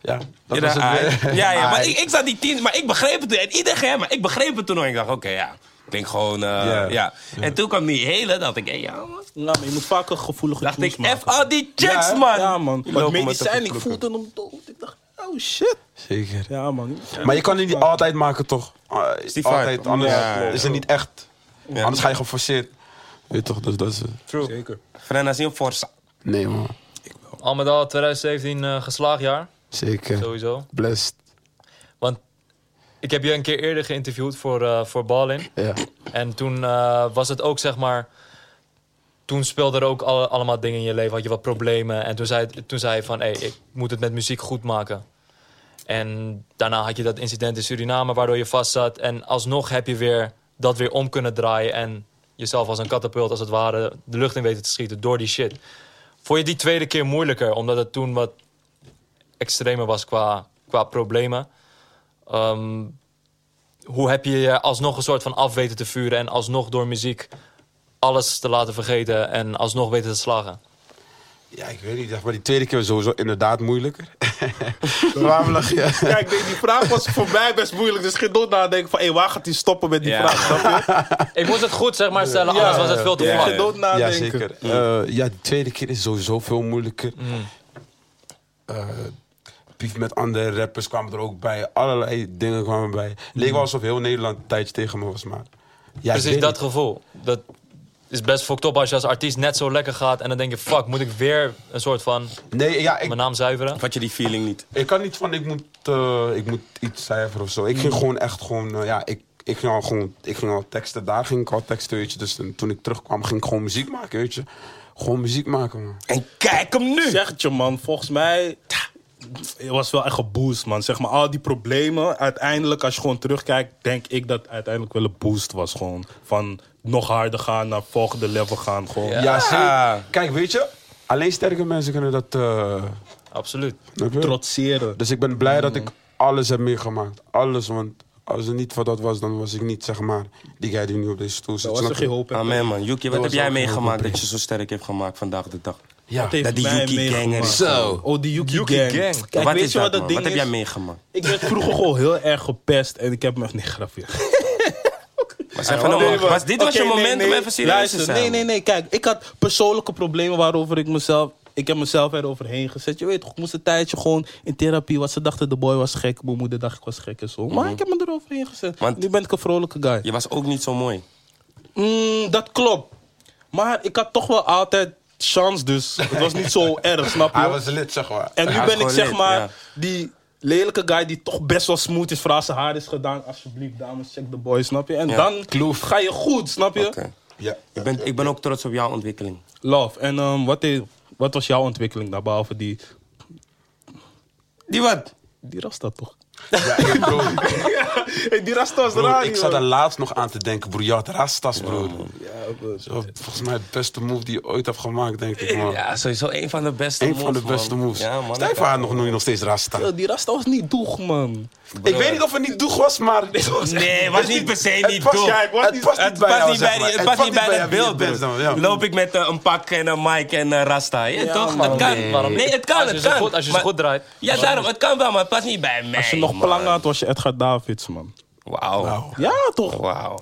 B: Ja, dat
A: Ja,
B: was het.
A: ah, ja, ja, maar
B: Ah,
A: ik, ik zat die tien, maar ik begreep het toen. En iedereen, maar ik begreep het toen nog. Ik dacht, oké, ja. Ik denk gewoon, eh,
B: Ja.
A: ja. En toen kwam die hele, dacht ik, hé, ja, man.
D: Nou, maar je moet vaker gevoelige
A: Dacht ik,
D: tunes maken.
A: F al die chicks, man.
D: Ja, man.
A: Die
D: Wat
A: lopen me te
D: medicijn, ik
A: verklokken.
D: voelde hem dood. Ik dacht, oh shit.
B: Zeker.
D: Ja, man.
B: Maar je kan het niet altijd maken, toch? Ah,
A: die vibe.
B: altijd, anders
A: Ja,
B: is het niet echt. Anders ga je geforceerd. Weet toch, dus dat is... eh,
D: Zeker.
A: Fernanda is heel forza.
B: Nee, man.
C: Al met al 2017 eh, geslaagd jaar,
B: Zeker.
C: sowieso.
B: Blessed.
C: Want ik heb je een keer eerder geïnterviewd voor, eh voor Ballin.
B: Ja.
C: En toen eh, was het ook zeg maar. toen speelden er ook alle- allemaal dingen in je leven. Had je wat problemen. En toen zei, toen zei hij van, hey, ik moet het met muziek goed maken. En daarna had je dat incident in Suriname waardoor je vast zat. En alsnog heb je weer dat weer om kunnen draaien. En jezelf als een katapult als het ware de lucht in weten te schieten door die shit. Vond je die tweede keer moeilijker? Omdat het toen wat extremer was qua, qua problemen. Ehm, hoe heb je je alsnog een soort van af weten te vuren... en alsnog door muziek alles te laten vergeten en alsnog weten te slagen?
B: Ja, ik weet niet. zeg Maar die tweede keer was sowieso inderdaad moeilijker. Waarom lach je?
D: Kijk, die, die vraag was voor mij best moeilijk. Dus geen dood nadenken van, hé, waar gaat hij stoppen met die
A: Ja.
D: vraag? Snap je?
C: Ik moest het goed zeg maar stellen, anders was het veel te
A: Ja.
C: vlak.
D: Geen dood nadenken.
B: Ja, zeker. Eh, ja, de tweede keer is sowieso veel moeilijker.
A: Mm.
B: Eh, Pief met andere rappers kwamen er ook bij. Allerlei dingen kwamen bij.
A: Mm.
B: Leek wel alsof heel Nederland een tijdje tegen me was, maar... Ja,
A: Dus
B: ik
C: Precies
B: weet
C: dat
B: niet.
C: gevoel. Dat is best fucked up als je als artiest net zo lekker gaat... en dan denk je, fuck, moet ik weer een soort van
B: Nee, ja, ik,
C: mijn naam zuiveren?
A: Of had je die feeling niet?
B: ik kan niet van ik moet, eh, ik moet iets cijferen of zo. Ik
D: Hmm.
B: ging gewoon echt gewoon... eh, ja, ik, ik, ging al gewoon, ik ging al teksten. Daar ging ik al teksten, weet je. Dus toen- toen ik terugkwam, ging ik gewoon muziek maken, weet je. Gewoon muziek maken, man.
A: En kijk hem nu!
D: zeg het je, man. Volgens mij het was wel echt een boost, man. Zeg maar, al die problemen. Uiteindelijk, als je gewoon terugkijkt, denk ik dat uiteindelijk wel een boost was. Gewoon van nog harder gaan naar volgende level gaan. Gewoon.
C: Ja.
B: Ja, zeker. Kijk, weet je... Alleen sterke mensen kunnen dat... eh,
C: Absoluut.
B: snap je?
D: Trotseren.
B: Dus ik ben blij
D: Hmm.
B: dat ik alles heb meegemaakt. Alles, want als het niet voor dat was, dan was ik niet, zeg maar, die guy die nu op deze stoel zit.
D: Dat was er
B: Snap je?
D: geen hoop. hè?
A: Amen, man. Yuki, wat
B: Dat
A: heb
B: was
A: jij
B: ook een
A: meegemaakt dat je zo sterk hebt gemaakt vandaag de dag?
B: Ja.
D: Dat heeft
A: Dat die
D: mij
A: Yuki gang
D: meegemaakt.
A: is.
E: Zo.
D: Oh, die Yuki,
C: Yuki
D: gang.
C: gang.
D: Kijk,
A: wat
D: weet
A: is
D: je
A: dat,
D: wat dat
A: man?
D: ding
A: Wat heb
D: is?
A: jij meegemaakt?
D: Ik werd vroeger gewoon heel erg gepest en ik heb me echt niet grapje.
A: Maar zeg van, nou, man, was, dit was je
D: Oké, nee,
A: moment
D: nee.
A: om even serieus te
D: Luister,
A: zijn?
D: Nee, nee, nee. Kijk, ik had persoonlijke problemen waarover ik mezelf... Ik heb mezelf eroverheen gezet. Je weet toch, ik moest een tijdje gewoon in therapie. Want ze dachten de boy was gek. Mijn moeder dacht ik was gek en zo. Maar ik heb me eroverheen gezet.
A: Mhm. Want-
D: nu ben ik een vrolijke guy.
A: Je was ook niet zo mooi.
D: Mm, dat klopt. Maar ik had toch wel altijd chance dus. Het was niet zo erg, snap je?
B: Hij was lid, zeg maar.
D: En nu
A: Hij is
D: ben ik
A: gewoon
D: zeg
A: lid,
D: maar
A: ja.
D: die lelijke guy die toch best wel smooth is voor haar zijn haar is gedaan. Alsjeblieft, dames, check de boy, snap je? En
A: Ja.
D: dan ga je goed, snap je?
A: Oké.
B: Ja.
A: Ik, ben, ik ben ook trots op jouw ontwikkeling.
D: Love. En ehm, wat, is- wat was jouw ontwikkeling daar, behalve die,
A: Die wat?
D: die rasta toch?
B: Ja, ik- bro,
D: Hey, die rasta was
B: bro,
D: raar,
B: ik zat er laatst nog aan te denken, broer. Je had rastas, broer. Zo, volgens mij het beste move die je ooit hebt gemaakt, denk ik, man.
A: Ja, sowieso een van de beste
B: Eén
A: moves,
B: van de beste
A: man.
B: moves.
A: Ja, man.
B: Stijf haar nog, nog steeds rasta.
D: Die rasta was niet doeg, man.
B: Ik weet niet of het niet doeg was, maar... Het was
A: Nee, was niet per se
B: het
A: niet
B: past-
A: doel.
B: ja, het past niet- het
A: Het
B: past
A: past
B: jou,
A: niet
B: zeg
A: bij, die-
B: maar.
A: het past niet bij dat
B: wie je
A: beeld.
B: bent dan,
A: broer.
B: ja.
A: Loop ik met eh, een pak en een mic en een rasta. Ja, toch?
D: man,
A: dat kan.
C: nee.
A: Nee, het kan.
C: Als je
A: het
C: ze
A: kan.
C: goed- als je ze
A: Maar-
C: goed draait.
A: Ja, daarom. Het kan wel, maar het past niet bij mij.
D: Als je nog
A: man.
D: plang had, was je Edgar Davids, man.
A: Wauw.
D: Ja, toch?
A: Wauw.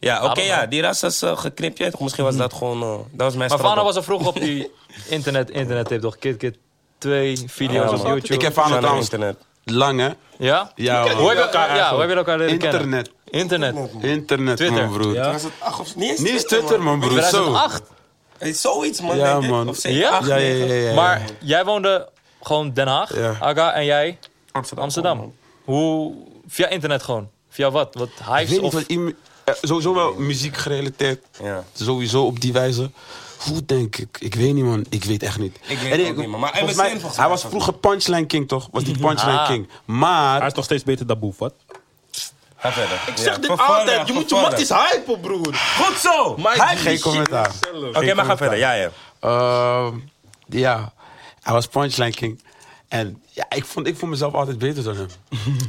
A: Ja, oké, ja. Die rasta is eh, geknipt. ja, toch? Misschien was dat gewoon... eh, dat was mijn
C: Maar Fana
A: strop.
C: was er vroeg op die internet, internet tip toch? Kid Kid 2 video's
A: Ja,
C: op
A: man.
C: YouTube.
B: Ik heb
A: Van
B: Fana
A: het
B: trouwens
A: internet.
B: lang, hè?
C: Ja?
B: Ja, man.
C: Hoe heb je elkaar, ja, hoe heb je elkaar leren kennen?
B: Internet.
C: Internet.
B: Internet,
C: Twitter.
B: man, broer.
D: Ja.
A: Was het acht of niet? eens
B: Niet eens
A: Twitter,
B: Twitter, man, broer. Zo.
C: 2008.
A: Eh, Zoiets, man.
B: Ja,
A: denk ik.
B: man.
A: Of zeker
C: Ja?
A: acht,
B: Ja, ja,
A: negen.
B: ja, ja.
C: Maar jij woonde gewoon Den Haag,
B: Ja.
C: Aga, en jij
A: Amsterdam.
C: Amsterdam. Hoe, via internet gewoon? Via wat? Wat
B: Ik weet
C: hives
B: niet
C: of...
B: wat iemand- eh, sowieso wel muziek gerelateerd.
A: Ja.
B: Sowieso op die wijze. Hoe denk ik? Ik weet niet, man. Ik weet echt niet.
A: Ik weet ook niet, man. Maar
B: volgens
A: MSN
B: mij-
A: volgens
B: hij
A: mij
B: was
A: was
B: vroeger Punchline King, toch? Was die Punchline
C: Ah.
B: King.
D: Hij
B: Maar...
D: is nog steeds beter dan Boef, wat?
A: Ga verder.
D: Ik zeg dit altijd, je moet je mat eens hypen, broer.
A: Goed zo!
D: Maar
A: Hype die
B: Geen
A: shit.
B: commentaar.
A: Oké, maar ga verder. Ja, ja.
B: Ehm, ja, hij was Punchline King. En ja, ik vond, ik vond mezelf altijd beter dan hem.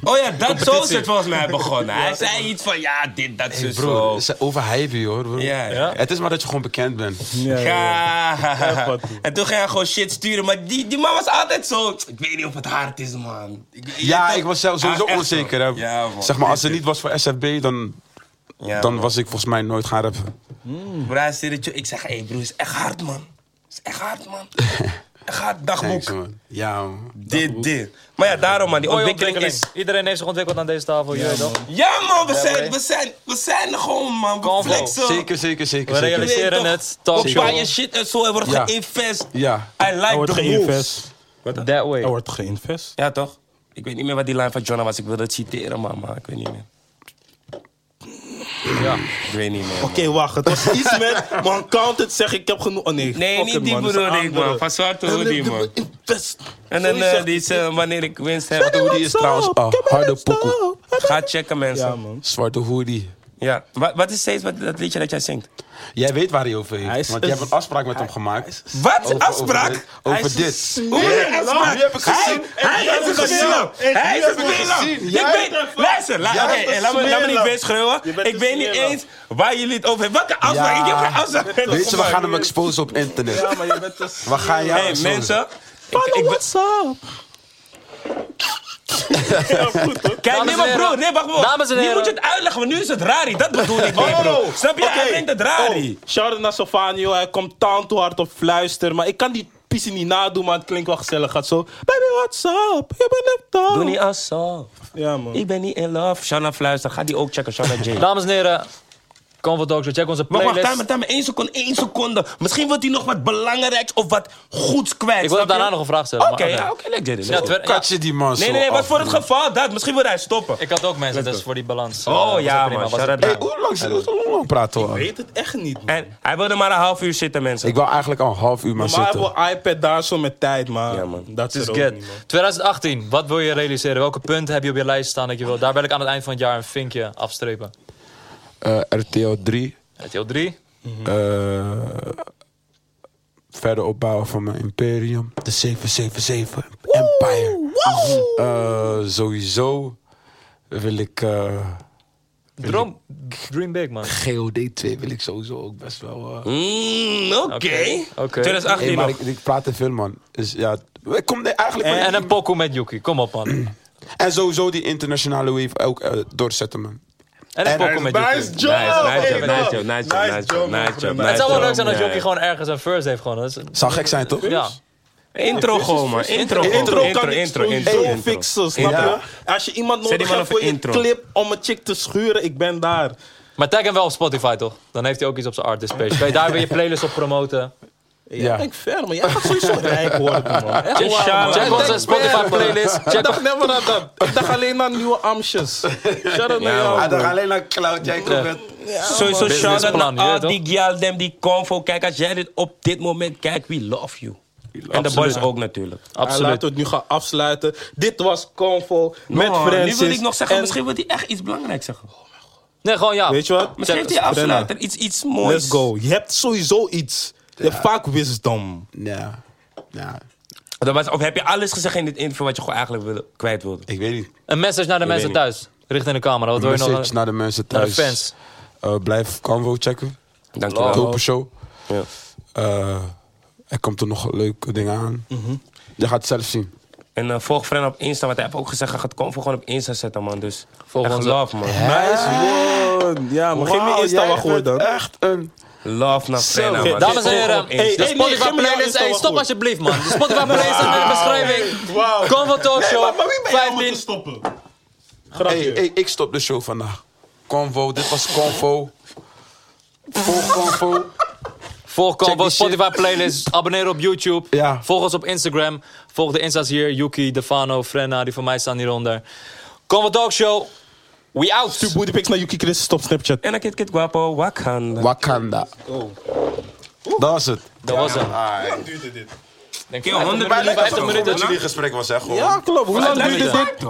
A: Oh ja, dat zo is het volgens mij begonnen. Hij zei iets van, ja, dit, dat,
B: Hey,
A: is
B: broer,
A: zo.
B: het is overhypen, hoor. broer.
A: Dus Ja, ja.
B: Het is maar dat je gewoon bekend bent.
A: Ja.
D: wat, broer.
A: En toen ging hij gewoon shit sturen. Maar die, die man was altijd zo... Ik weet niet of het hard is, man. Ik-
B: Ja,
A: toch?
B: ik was
A: Hij
B: zelf sowieso
A: is echt
B: onzeker.
A: zo.
B: Hè.
A: Ja, man.
B: zeg maar, als het niet was voor SFB, dan,
A: Ja,
B: dan
A: man.
B: was ik volgens mij nooit gaan rappen.
A: Broer, hij stuurde het je- Ik zeg, hé hey, broer, is echt hard, man. Is echt hard, man. Echt hard,
B: Thanks,
A: dagboek.
B: man. Ja, man.
A: Dit, dit. Maar ja, daarom, man. Die
C: Mooie
A: ontwikkeling is...
C: Iedereen heeft zich ontwikkeld aan deze tafel, je weet toch?
A: Ja, man, we zijn,
C: man.
A: we zijn, we zijn er gewoon, man. We
C: Convo.
A: flexen.
B: Zeker, zeker, zeker.
C: We
B: zeker.
A: Je weet
C: realiseren
A: toch,
C: het, talk
A: Op
C: show.
A: je shit en zo, er wordt
B: Ja.
A: geïnvest.
B: Ja.
A: I
D: Er
A: like
D: wordt
A: the moves.
D: geïnvest.
C: That way.
A: Oh.
D: Er wordt geïnvest.
A: Ja, toch? Ik weet niet meer wat die line van Jonna was. Ik wilde het citeren, maar, maar ik weet niet meer.
C: Ja.
A: Ik weet niet, man.
D: Oké, wacht. Het was iets met... Man, count het, zeg ik heb genoeg... Oh nee,
A: Nee,
D: fuck
A: niet
D: it,
A: die
D: man, dat is een
A: broer, ik, man.
D: andere.
A: Van zwarte hoodie, man.
D: Invest.
A: En dan
D: Zoiets
A: eh,
D: zegt
A: die
D: hij.
A: is, eh, wanneer ik winst heb.
B: Zwarte hoodie is trouwens een harde pokoe.
A: Ga checken, mensen.
D: Ah, Ja,
A: Ja,
D: man.
B: Zwarte hoodie.
A: Wat, wat is steeds wat, dat liedje dat jij zingt?
B: Jij weet waar hij over heeft,
D: Hij is
B: want
D: een-
B: je hebt een afspraak met hem gemaakt.
A: Wat?
B: Over-
A: Afspraak?
B: Over dit.
A: Hij is
B: Over dit.
A: Hoe bedoel je afspraak? Hij, hij is een gesnap. Hij is een
B: gezien.
A: smeerlap.
B: Jij
A: Ik weet... Luister, la-
B: Jij
A: oké, eh,
B: bent een
A: laat me- laat me niet
D: smeerlap.
A: weer schreeuwen.
D: Je bent
A: Ik
D: een
A: weet niet
D: smeerlap.
A: eens waar jullie het over hebben. Welke afspraak? Ik heb geen afspraak.
B: Weet je, we gaan hem exposen op internet.
D: Ja, maar je bent dus...
B: We gaan jou
A: hey,
B: exposen.
A: mensen. Ik, ik, Kijk, nee, maar
C: en
A: broer,
C: heren.
A: nee, wacht, wacht.
C: Dames en
A: Nu
C: heren.
A: moet je het uitleggen, want nu is het rari. Dat bedoel ik niet, bro. Snap je? Hij vindt het rari.
D: Oh, Shout-out naar Sofanio. Hij komt taan toe hard op fluister. Maar ik kan die pissie niet nadoen, maar het klinkt wel gezellig. Gaat zo... Baby, what's up? Je bent op touw.
A: Oh. Doe niet alsof.
D: Ja, man.
A: Ik ben niet in love. Shanna Fluister, ga die ook checken, Shanna J.
C: Dames en heren, Convo Talk Show, check onze
A: Maar wacht,
C: playlist.
A: daar maar, daar maar. één seconde, één seconde. Misschien wil hij nog wat belangrijks of wat goeds kwijt.
C: Ik wil
A: snap
C: daarna
A: je?
C: nog een vraag stellen, maar
A: Oké,
C: oké.
A: ja, oké, leuk, Jerry.
C: ja,
A: leuk.
C: Twer- ja,
B: Kat je die man
A: Nee,
B: zo Oh,
A: nee, nee, wat
B: af,
A: voor het
B: man.
A: geval dat. Misschien wil hij stoppen.
C: ik had ook mensen dus voor die balans.
A: Oh,
C: Eh, was
A: ja,
C: ook prima,
A: man,
C: was ook
A: shout-out.
C: prima.
B: Hey, hoe lang, hoe lang praten we al?
D: weet het echt niet, man.
A: En hij wilde maar een half uur zitten, mensen.
B: Ik wil eigenlijk al een half uur maar
D: Maar hij
B: zitten.
D: heeft wel iPad daar zo met tijd, maar
A: Ja, man.
D: dat is
C: Is
D: er ook
C: good.
D: niet, man.
C: 2018, wat wil je realiseren? Welke punten heb je op je lijst staan dat je wil? Daar wil ik aan het eind van het jaar een vinkje afstrepen.
B: Eh, RTL 3.
C: RTL 3.
B: eh, verder opbouwen van mijn imperium. De 777 Empire. Eh, sowieso wil ik... eh,
C: Droom, dream big, man.
B: GOD 2 wil ik sowieso ook best wel... eh,
A: Mm, Oké.
C: Oké. Oké.
A: 2018
B: Hey, maar
A: nog.
B: ik, ik praat te veel, man. Dus ja, ik kom er eigenlijk
C: En,
B: en,
C: een pokoe met Yuki, kom op, man. En
B: en sowieso die internationale wave ook eh, doorzetten, man.
C: een pokoe
B: nice,
C: met Yuki.
D: nice job!
A: Nice, nice job,
D: Hey,
A: nice
D: man.
A: job, nice job, nice job,
D: man,
A: nice job,
D: man.
A: nice
C: Het zou wel leuk zijn als
A: Ja,
C: Yuki
A: ja.
C: gewoon ergens een verse heeft, gewoon. Dat is-
B: Zou gek zijn, toch?
C: ja.
D: dus?
A: Intro gewoon, man. Intro, gewoon.
D: Intro kan
A: Oh, intro,
D: ik
A: intro,
D: sowieso
A: intro, intro.
D: fixen, snap
B: Ja.
D: je? Als je iemand
A: Zet
D: nodig
A: die man
D: hebt
A: even
D: voor je
A: intro.
D: clip om een chick te schuren, ik ben daar.
C: Maar tag hem wel op Spotify, toch? Dan heeft hij ook iets op zijn artist page. Kan je daar weer je playlist op promoten?
D: Ja,
B: Ja.
D: Ik denk ver, maar jij gaat sowieso rijk worden, man. Echt
C: Check,
D: waar, man.
C: check
D: Ik
C: onze
D: denk
C: Spotify
D: ver, man.
C: playlist.
D: Ik
C: Check
D: dacht net maar aan dat. Ik dacht alleen naar nieuwe amsjes. Shout-out naar jou,
B: Hij dacht
D: man.
B: alleen naar Cloud, jij komt met...
A: Sowieso shout-out
C: Businessplan,
A: naar
C: je
A: al
C: weet
A: die gyaldem, die convo. Kijk, als jij dit op dit moment kijkt, we love you. En de boys ook natuurlijk.
D: Ah,
C: Absoluut.
D: Laten we het nu gaan afsluiten. Dit was Convo met
A: Nou,
D: Francis.
A: Nu wil ik nog zeggen,
D: En
A: misschien wil hij echt iets belangrijks zeggen.
C: Nee, gewoon ja.
D: Weet je wat?
A: Misschien heeft hij
D: Brenna.
A: afsluiter iets, iets moois.
D: Let's go. Je hebt sowieso iets. Je hebt vaak wisdom.
B: Ja. ja,
A: Dat was- Of heb je alles gezegd in dit interview wat je gewoon eigenlijk wilde, kwijt wilde?
B: ik weet niet.
C: Een message naar de mensen
A: weet
C: thuis. Richting de camera. Wat wil je nog?
B: Message naar de mensen
C: naar de
B: thuis.
C: fans.
B: Eh, blijf Convo checken.
A: Dankjewel.
B: Dope show.
A: Ja.
B: Eh, er komt er nog leuke dingen aan. Je gaat het zelf zien.
A: En eh, volg Fren op Insta, want hij heeft ook gezegd, hij gaat Convo gewoon op Insta zetten, man. Dus
C: Volg
A: echt
C: ons op.
A: love, man.
D: Nice one. Ja, maar geef me
B: Wauw,
D: eerst
B: jij
D: dan
B: Eh,
D: wel goed
B: bent
D: dan.
B: Echt een...
A: Love naar Frenna,
D: Oké,
A: man.
C: Dames en heren,
A: Volg op Insta.
C: de
D: hey, nee,
C: Spotify
D: geef me jouw
C: playlist.
D: Insta
C: Hey,
D: wel
C: stop
D: goed.
C: alsjeblieft, man. De Spotify playlist staat in de beschrijving.
D: Wauw.
C: Convo Talk Show.
D: om
C: 15.
D: te stoppen? Grapje.
B: Hey, hey, ik stop de show vandaag. Convo, dit was Convo. Volg Convo.
C: Volg
B: Check
C: Combo,
B: die shit.
C: Spotify playlist, abonneer op YouTube.
B: Ja.
C: Volg ons op Instagram. Volg de Insta's hier. Yuki, Defano, Frenna, die van mij staan hieronder. Combo Talk Show. We out.
D: Stuur bootypics naar Yuki Chris. Stop Snapchat.
A: En dan kid kid guapo, wakanda.
B: Wakanda. Dat was het.
C: Dat was hem.
B: Alright.
D: duurde dit?
C: Denk
A: Yo, 100
C: minuten,
A: minuten.
C: 50 minuten.
B: jullie gesprek was, echt Gewoon.
D: Ja, klopt. Hoe lang duurde dit?